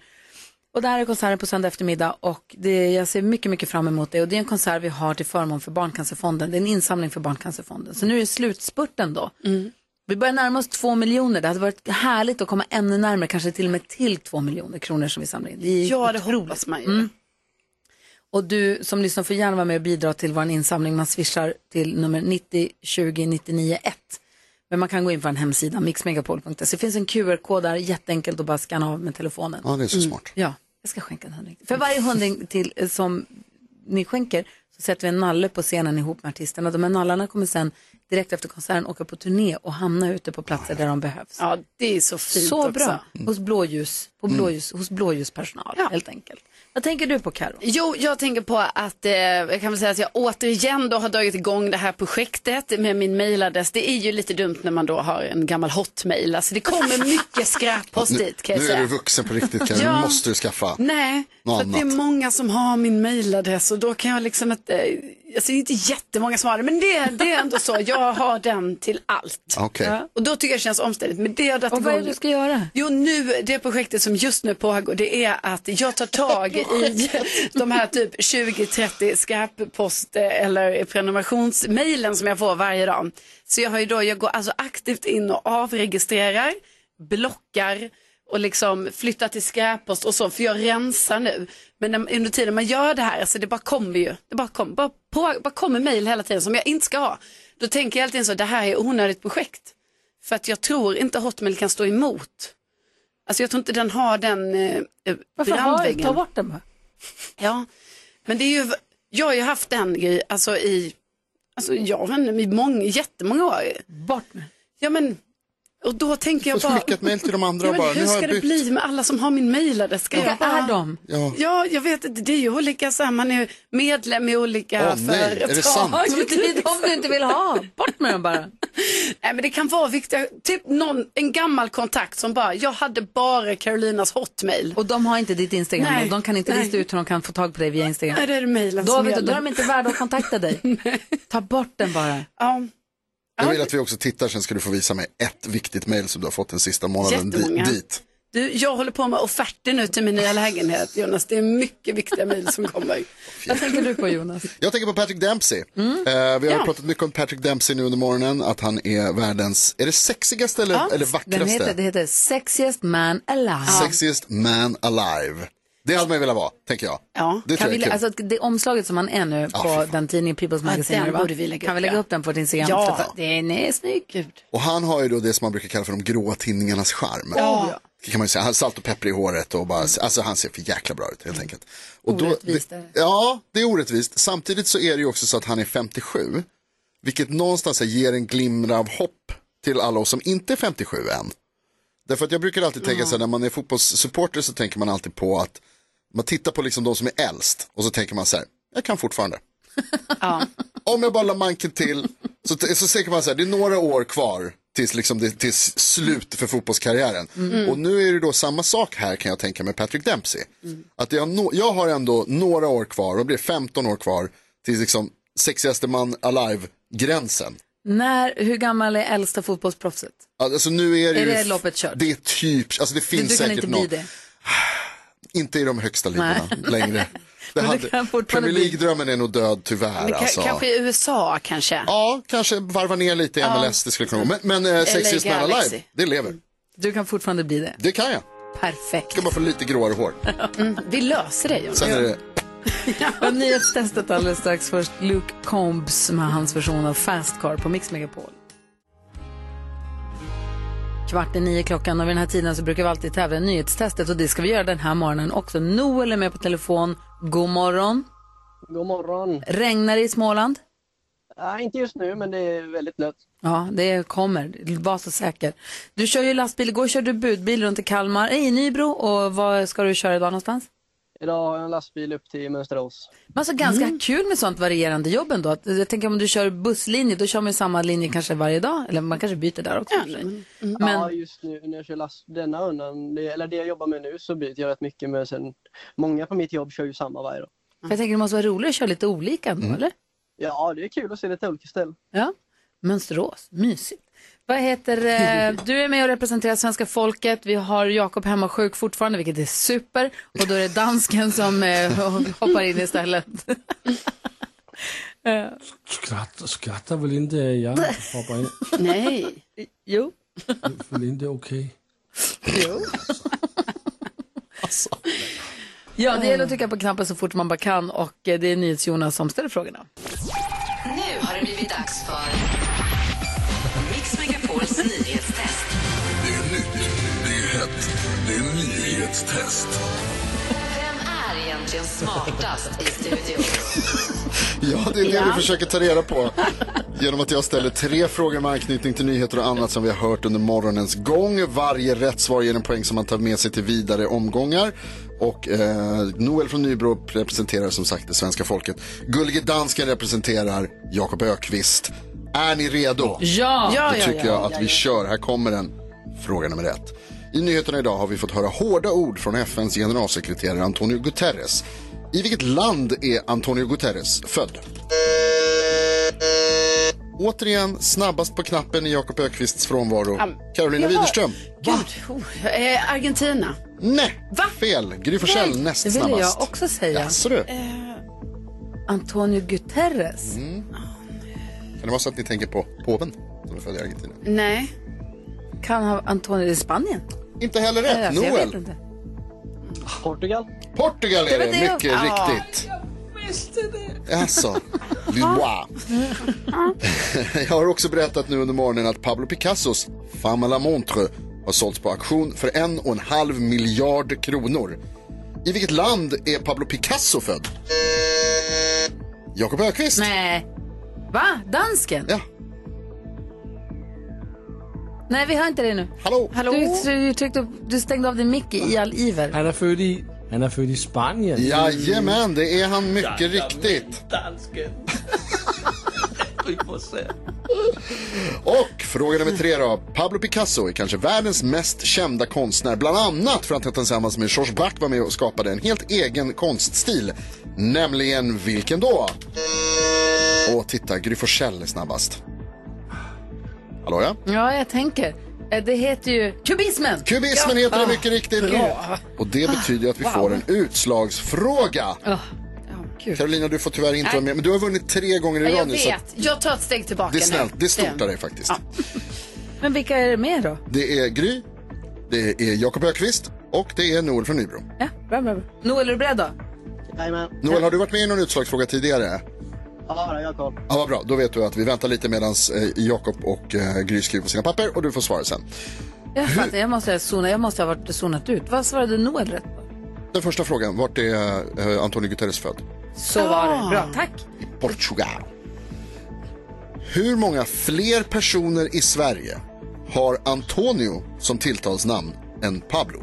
A: Och där är konserten på söndag eftermiddag och det, jag ser mycket, mycket fram emot det. Och det är en konsert vi har till förmån för Barncancerfonden. Det är en insamling för Barncancerfonden. Så nu är det slutspurten då.
B: Mm.
A: Vi börjar närma oss två miljoner. Det hade varit härligt att komma ännu närmare, kanske till och med till två miljoner kronor som vi samlar in. Det är ju
D: Ja, det hoppas man ju.
A: Mm. och du som lyssnar får gärna vara med och bidra till vår insamling. Man swishar till nummer 90 20 99 1. Men man kan gå in på en hemsida, mixmegapol.se. Det finns en QR-kod där, jätteenkelt att bara skanna av med telefonen.
B: Ja, det är så
D: Mm.
B: smart.
A: Ja, jag ska skänka en hundring. För varje hundring till, eh, som ni skänker så sätter vi en nalle på scenen ihop med artisterna. De här nallarna kommer sen direkt efter konserten åka på turné och hamna ute på platser där de behövs.
D: Ja, det är så fint
A: Så
D: också.
A: bra. Hos blåljus, på blåljus, hos blåljuspersonal helt enkelt. Vad tänker du på Karo?
D: Jo, jag tänker på att eh, jag kan väl säga att jag återigen då har dragit igång det här projektet med min mailadress. Det är ju lite dumt när man då har en gammal hotmail. Alltså det kommer mycket skräppost dit kan jag
B: nu är du
D: säga.
B: vuxen på riktigt, Karin.
D: Ja.
B: Nu måste du skaffa.
D: Nej,
B: Något
D: för att det är
B: annat.
D: många som har min mailadress och då kan jag liksom inte, eh, alltså det är inte jättemånga som har den, men det, det är ändå så, jag har den till allt.
B: Okej.
D: Ja, och då tycker jag det känns omständigt, men det har jag dragit
A: Och vad är
D: igång.
A: det du ska göra?
D: Jo, nu, det projektet som just nu pågår, det är att jag tar tag i de här typ 20-30 skräppost eh, eller prenumerationsmailen som jag får varje dag. Så jag har ju då, jag går alltså aktivt in och avregistrerar, blockar och liksom flyttar till skräppost och så, för jag rensar nu. Men när, under tiden man gör det här, alltså det bara kommer ju, det bara kommer, bara, på, bara kommer mail hela tiden som jag inte ska ha. Då tänker jag alltid så, det här är onödigt projekt. För att jag tror inte Hotmail kan stå emot. Alltså jag tror inte den har den eh,
A: Varför har, ta bort den bara.
D: Ja, men det är ju, jag har ju haft den grej, alltså i, alltså jag vet inte, i många, jättemånga år.
A: Bort med
D: Ja men, Och då tänker jag
B: Får
D: bara...
B: skicka ett mejl till de andra
D: ja,
B: och
D: men
B: bara, nu
D: hur
B: har jag
D: ska det
B: bytt.
D: bli med alla som har min mejladress? Ska
B: Vilka
D: jag bara...
A: ah.
B: är de? Ja.
D: Ja. jag vet inte. Det är ju olika, så här, man är ju medlem i olika
B: Åh, nej. Är
D: företag.
B: det sant?
A: Så det är
D: liksom-
A: de du inte vill ha. Bort med dem bara.
D: Nej, men det kan vara viktiga, typ någon, en gammal kontakt som bara, jag hade bara Carolinas hotmail.
A: Och de har inte ditt Instagram,
D: Nej,
A: de kan inte
D: nej.
A: lista ut hur de kan få tag på dig via Instagram.
D: Nej, det är det mejlen
A: då,
D: som
A: vet du, då
D: gäller.
A: är de inte värda att kontakta dig. Ta bort den bara.
D: Ja.
B: Jag vill att vi också tittar, sen ska du få visa mig ett viktigt mejl som du har fått den sista månaden di-
D: Jättemånga.
B: dit.
D: Du, jag håller på med offerter nu till min nya lägenhet, Jonas. Det är mycket viktiga mejl som kommer.
A: Vad tänker du på, Jonas?
B: Jag tänker på Patrick Dempsey. Eh, vi har
D: Mm. Ja.
B: pratat mycket om Patrick Dempsey nu under morgonen, att han är världens, är det sexigaste eller, eller
A: Den
B: vackraste?
A: heter, det heter Sexiest Man Alive.
B: Sexiest man alive. Det hade man ju velat vara, tänker jag.
A: Ja,
B: det
A: kan
B: tror
A: vi,
B: jag är kul.
A: alltså, det omslaget som han är nu
B: Ja, fy
A: på den tidningen People's Magazine.
D: den
A: va?
D: borde vi lägga
A: kan
D: upp,
A: vi lägga
D: ja.
A: upp den på din Instagram?
D: Ja.
A: Så- Den är snygg.
B: Och han har ju då det som man brukar kalla för de gråa tinningarnas charm.
A: Ja.
B: Det Kan man ju säga. Han har salt och peppar i håret och bara, alltså han ser för jäkla bra ut helt enkelt. Och då,
A: Orättvist är
B: det, Ja, det är orättvist. Samtidigt så är det ju också så att han är 57, vilket någonstans här ger en glimra av hopp till alla oss som inte är 57 än. Därför att jag brukar alltid tänka så här, när man är fotbollssupporter så tänker man alltid på att man tittar på liksom de som är äldst och så tänker man så här, jag kan fortfarande. Om jag bara la manken till så, så tänker man så här, det är några år kvar tills, liksom det, tills slut för fotbollskarriären.
O: Mm.
B: Och nu är det då samma sak här kan jag tänka med Patrick Dempsey. Att jag, nå- jag har ändå några år kvar, och blir 15 år kvar, till liksom sexigaste man alive-gränsen.
A: När, hur gammal är äldsta fotbollsproffset?
B: Alltså nu är det,
A: Är
B: ju-
A: det loppet kört?
B: Det är typ, alltså det
A: Du,
B: finns
A: du kan
B: säkert
A: inte bli
B: någon.
A: det.
B: Inte i de högsta ligorna
D: Nej.
B: längre. Det
D: Men det
B: hade,
D: kan fortfarande
B: Premier
D: bli-
B: League-drömmen är nog död tyvärr.
D: Men ka-
B: alltså.
D: Kanske i USA, kanske.
B: Ja, kanske varva ner lite i
D: Ja.
B: MLS, det skulle kunna gå. Men, men eh, Sexiest
D: LA
B: Man
D: Galaxy.
B: Alive, det lever.
A: Du kan fortfarande bli det.
B: Det kan jag.
A: Perfekt.
B: Ska bara få lite gråare hår.
D: Mm, vi löser det, Jonas.
B: Sen är det,
A: Och nyhetstestet alldeles strax. Först Luke Combs med hans version av Fast Car på Mix Megapol. Kvart i nio klockan och vid den här tiden så brukar vi alltid tävla i nyhetstestet och det ska vi göra den här morgonen också. Noel är med på telefon. God morgon.
P: God morgon.
A: Regnar det i Småland?
P: Nej, inte just nu, men det är väldigt lätt.
A: Ja, det kommer. Var så säker. Du kör ju lastbil. Igår körde du budbil runt i Kalmar, eh, i Nybro och vad ska du köra idag någonstans?
P: Idag har jag en lastbil upp till Mönsterås.
A: Men alltså ganska kul med sånt varierande jobb ändå. Att, Jag tänker om du kör busslinje, då kör man ju samma linje kanske varje dag. Eller man kanske byter där också. i och för sig. Men-
P: Ja, just nu när jag kör last, denna rundan, det, eller det jag jobbar med nu, så byter jag rätt mycket. Men sen, många på mitt jobb kör ju samma varje dag.
A: För jag tänker det måste vara roligt att köra lite olika ändå, eller?
P: Ja, det är kul att se lite olika ställen.
A: Ja. Mönsterås, mysigt. Vad heter, eh, du är med och representerar svenska folket. Vi har Jakob hemma sjuk fortfarande, vilket är super. Och då är det dansken som eh, hoppar in istället. Eh,
C: Skrattar, skrattar väl inte jag? Hoppar in.
D: Nej.
A: Jo.
C: Väl inte okej?
A: Ja, det gäller att trycka på knappen så fort man bara kan och eh, det är NyhetsJonas som ställer frågorna.
E: Nu har det blivit dags för Mix Megapols nyhetstest.
F: Det är nytt, det är hett, det är nyhetstest.
E: Vem är egentligen smartast i studion?
B: ja, det är det
E: Ja.
B: vi försöker ta reda på. Genom att jag ställer tre frågor med anknytning till nyheter och annat som vi har hört under morgonens gång. Varje rätt svar ger en poäng som man tar med sig till vidare omgångar. Och eh, Noel från Nybro representerar som sagt det svenska folket. Gullige Dansken representerar Jakob Ökvist. Är ni redo?
A: Ja! Ja,
B: Då
A: ja,
B: tycker
A: ja,
B: jag att
A: ja,
B: vi
A: ja.
B: kör. Här kommer den. Fråga nummer ett. I nyheterna idag har vi fått höra hårda ord från FNs generalsekreterare Antonio Guterres. I vilket land är Antonio Guterres född? Återigen snabbast på knappen i Jakob Ökvists frånvaro.
D: Am-
B: Carolina
D: Jaha.
B: Widerström.
D: Gud, oh, eh, Argentina.
B: Nej, fel. Gry Forssell
D: Nej,
B: näst
A: det ville
B: snabbast.
A: jag också säga. Eh.
B: Jaså du. Kan
A: Antonio Guterres?
B: det vara så att ni tänker på påven som är född i Argentina?
A: Mm.
D: Nej.
A: Kan ha Antonio i Spanien?
B: Inte heller rätt.
A: Alltså, jag
B: Noel.
A: vet inte.
P: Portugal.
B: Portugal
A: Det
B: är det,
A: var det jag-
B: mycket
A: Ja.
B: riktigt. Alltså, Lillois. Jag har också berättat nu under morgonen att Pablo Picassos Femme à la Montre har sålts på auktion för en och en halv miljard kronor. I vilket land är Pablo Picasso född? Jakob Ökvist.
A: Nej. Va? Dansken?
B: Ja.
A: Nej, vi har inte det nu.
B: Hallå?
A: Hallå? Du, du, tryckte upp, du stängde av din mick i all iver.
C: Han är född i, han är född i Spanien.
B: Jajamän, det är han mycket riktigt.
C: Dansken.
B: Och fråga nummer tre då. Pablo Picasso är kanske världens mest kända konstnär, bland annat för att han tillsammans med George Braque var med och skapade en helt egen konststil. Nämligen vilken då? Och titta, Gry Forssell är snabbast. Hallå ja?
A: Ja, jag tänker. Eh, Det heter ju kubismen.
B: Kubismen heter det mycket riktigt.
A: Bra.
B: Och det betyder att vi
A: Wow.
B: får en utslagsfråga. Carolina, du får tyvärr inte vara med, men du har vunnit tre gånger i
D: Ja, Jag
B: rad nu. så
D: vet. Jag tar ett steg tillbaka
B: Det är
D: nu.
B: snällt, det är stort av dig faktiskt.
A: Men vilka är det med då?
B: Det är Gry, det är Jakob Ökvist och det är Noel från Nybro.
A: Ja, bra, bra, bra. Noel, är du beredd då?
P: Jajamän.
B: Noel, har du varit med i någon utslagsfråga tidigare?
P: Ja, jag har koll.
B: Ja, vad bra. Då vet du att vi väntar lite medan Jakob och eh, Gry skriver på sina papper och du får svara sen.
A: Jag, fattar, jag, måste, ha zonat, jag måste ha varit zonat ut. Vad svarade Noel rätt på?
B: Den första frågan, vart är eh, Antonio Guterres född?
A: Så var det. Bra, Ah. tack.
B: Portugal. Hur många fler personer i Sverige har Antonio som tilltalsnamn än Pablo?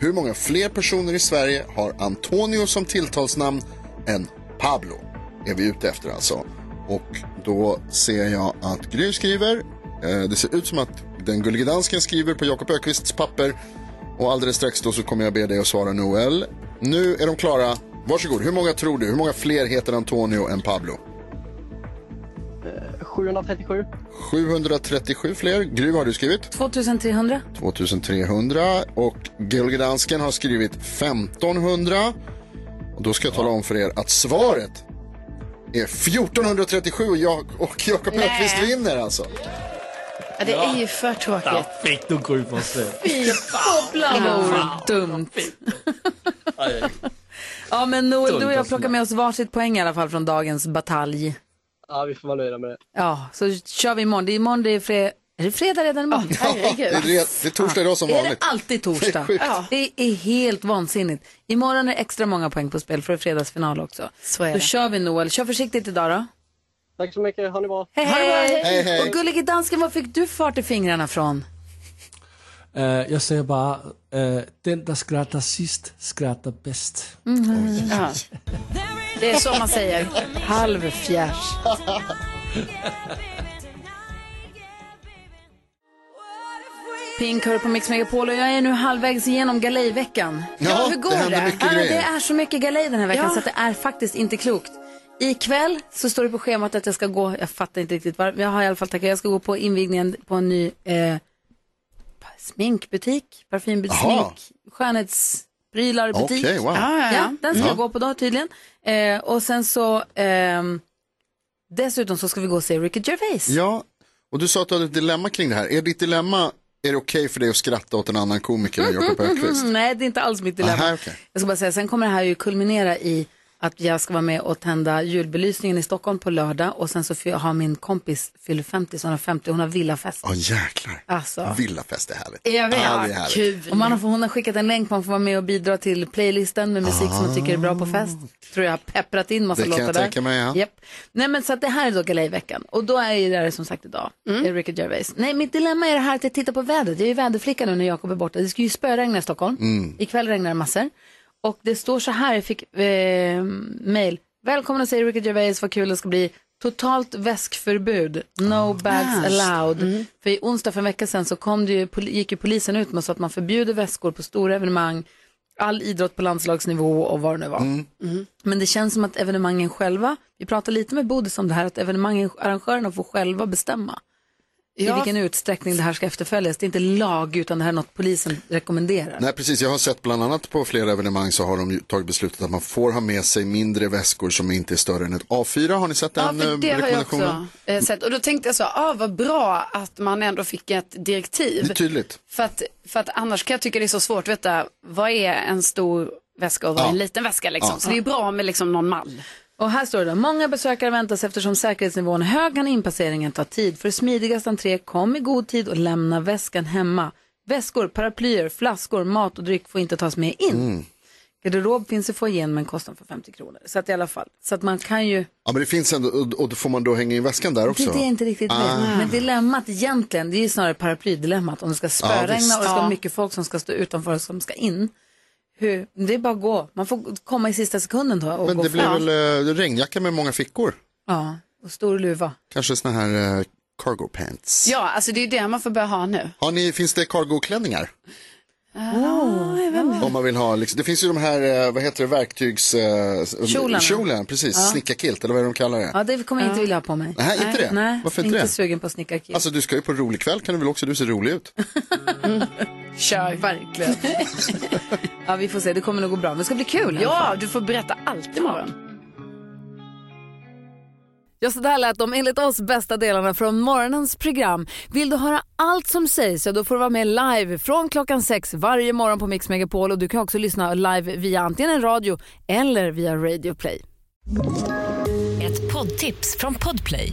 B: Hur många fler personer i Sverige har Antonio som tilltalsnamn än Pablo? Är vi ute efter alltså. Och då ser jag att Gry skriver. Eh, Det ser ut som att den gullige dansken skriver på Jakob Ökvists papper. Och alldeles strax då så kommer jag be dig att svara Noel. Nu är de klara. Varsågod, hur många tror du? Hur många fler heter Antonio än Pablo?
P: 737.
B: 737 fler. Gry, vad har du skrivit?
A: 2300.
B: 2300 och Gulgedansken har skrivit 1500. Och då ska jag tala om för er att svaret är 1437 och, jag, och Jakob
D: Nej.
B: Öqvist vinner alltså.
D: Ja, det är ju för tråkigt.
C: fick du Gry Forssell.
A: Fy
D: fan.
A: popplan vad dumt. Ja, men Noel, du och jag plockar med oss varsitt poäng i alla fall från dagens batalj.
P: Ja, vi får vara nöjda med det.
A: Ja, så kör vi imorgon. Det är imorgon, det är fredag. Är det fredag redan imorgon?
B: det, är, det är torsdag idag som
A: Är det
B: vanligt.
A: alltid
B: Det är
A: torsdag?
B: sjukt.
A: ja. Det är helt vansinnigt. Imorgon är det extra många poäng på spel för det är fredagsfinal också.
D: Så är
A: Då
D: det.
A: kör vi Noel. Kör försiktigt idag då.
P: Tack så mycket, ha det bra.
A: Hej, hej.
P: Hej, hej.
A: Och gullige dansken, var fick du fart i fingrarna från?
C: Eh, jag säger bara, eh, den som skrattar sist skrattar bäst.
A: Ja.
D: Det är så man säger.
A: Halvfjärs. Pink hör på Mix Megapol och jag är nu halvvägs igenom galejveckan.
D: Ja,
A: hur går
D: det
A: det?
D: händer mycket
A: ja, men det
D: grejer.
A: är så mycket galej den här veckan
D: Ja.
A: så att det är faktiskt inte klokt. Ikväll så står det på schemat att jag ska gå, jag fattar inte riktigt var, jag har i alla fall tackat, jag ska gå på invigningen på en ny eh, sminkbutik, parfymbutik,
B: Jaha.
A: smink, skönhetsprylar butik.
B: Okej, wow.
A: ja, ja, ja. Den ska
B: Ja.
A: jag gå på då tydligen. Eh, och sen så, ehm, dessutom så ska vi gå och se Ricky Gervais.
B: Ja, och du sa att du hade ett dilemma kring det här. Är ditt dilemma, är det okej för dig att skratta åt en annan komiker än Jakob Öqvist?
A: Nej, det är inte alls mitt Mm-hmm. dilemma.
B: Aha, okej.
A: Jag ska bara säga, sen kommer det här ju kulminera i att jag ska vara med och tända julbelysningen i Stockholm på lördag och sen så fy- har min kompis fyller 50, så hon har 50, hon har villafest.
B: Ja, jäklar.
A: Alltså.
B: Villafest är härligt.
A: Jag vet.
B: Ja, det är härligt.
A: Och man har, hon har skickat en länk, man får vara med och bidra till playlisten med musik
B: Ah.
A: som man tycker är bra på fest. Tror jag har pepprat in massa
B: Det kan
A: låtar
B: jag
A: där.
B: tänka mig, ja.
A: Japp. Nej men så att det här är då galejveckan. Och då är ju det här som sagt idag, mm. Ricky Gervais. Nej, mitt dilemma är det här att jag tittar på vädret. Jag är ju väderflicka nu när Jakob är borta. Det ska ju spöregna i Stockholm.
B: Mm.
A: Ikväll regnar det massor. Och det står så här, jag fick eh, mail. Välkomna säger Ricky Gervais, vad kul det ska bli. Totalt väskförbud, no bags
D: Ah.
A: allowed.
B: Mm.
A: För i onsdag för en vecka sedan så kom det ju, pol- gick ju polisen ut med och sa att man förbjuder väskor på stora evenemang, all idrott på landslagsnivå och vad det nu var.
B: Mm.
A: Men det känns som att evenemangen själva, vi pratar lite med Bodis om det här, att evenemangen, arrangörerna får själva bestämma i
D: Ja.
A: vilken utsträckning det här ska efterföljas. Det är inte lag utan det här är något polisen rekommenderar.
B: Nej, precis. Jag har sett bland annat på flera evenemang så har de ju tagit beslutet att man får ha med sig mindre väskor som inte är större än ett A4. Har ni sett
D: Ja,
B: den
D: för
B: eh,
D: det har jag
B: rekommendationen?
D: också eh, sett. Och då tänkte jag så, ah, vad bra att man ändå fick ett direktiv.
B: Det är tydligt.
D: För att, för att annars kan jag tycka det är så svårt att veta vad är en stor väska och vad är en liten väska liksom.
A: Ja.
D: Så det är bra med liksom någon mall.
A: Och här står det då, många besökare väntas eftersom säkerhetsnivån är hög kan inpasseringen ta tid. För smidigast entré, kom i god tid och lämna väskan hemma. Väskor, paraplyer, flaskor, mat och dryck får inte tas med in. Garderob finns i foajén men kostar för 50 kronor. Så att i alla fall, så att man kan ju
B: Ja, men det finns ändå, och, och då får man då hänga in väskan där också?
A: Det, det är inte riktigt
B: Ah.
A: vet. Men dilemmat egentligen, det är ju snarare paraplydilemmat. Om det ska
B: Ja,
A: spöregna
B: visst.
A: och det ska vara
B: Ja.
A: mycket folk som ska stå utanför och som ska in. Hur, det är bara att gå. Man får komma i sista sekunden då och
B: Men
A: gå
B: det blir
A: fram.
B: väl eh, regnjacka med många fickor?
A: Ja, och stor luva.
B: Kanske såna här eh, cargo pants?
D: Ja, alltså det är ju det man får börja ha nu.
B: Har ni, finns det cargo-klänningar?
D: Oh,
B: Om man vill ha, liksom, det finns ju de här, eh, vad heter det, verktygs... eh,
A: Kjolarna.
B: Kjolen, precis.
A: Ja.
B: Snickarkilt, eller vad är det de kallar det?
A: Ja, det kommer jag inte vilja ha på mig.
B: Nej, inte det?
A: Nej,
B: Varför inte
A: inte
B: det?
A: sugen på snickarkill.
B: Alltså du ska ju på en rolig kväll kan du väl också, du ser rolig ut.
A: Kör. Verkligen. ja, vi får se. Det kommer nog gå bra. Men det ska bli kul. i alla
D: Ja,
A: fall.
D: du får berätta allt imorgon.
A: Ja, så där lät de enligt oss bästa delarna från morgonens program. Vill du höra allt som sägs så då får du vara med live från klockan sex varje morgon på Mix Megapol och du kan också lyssna live via antingen en radio eller via Radio Play.
K: Ett poddtips från Podplay.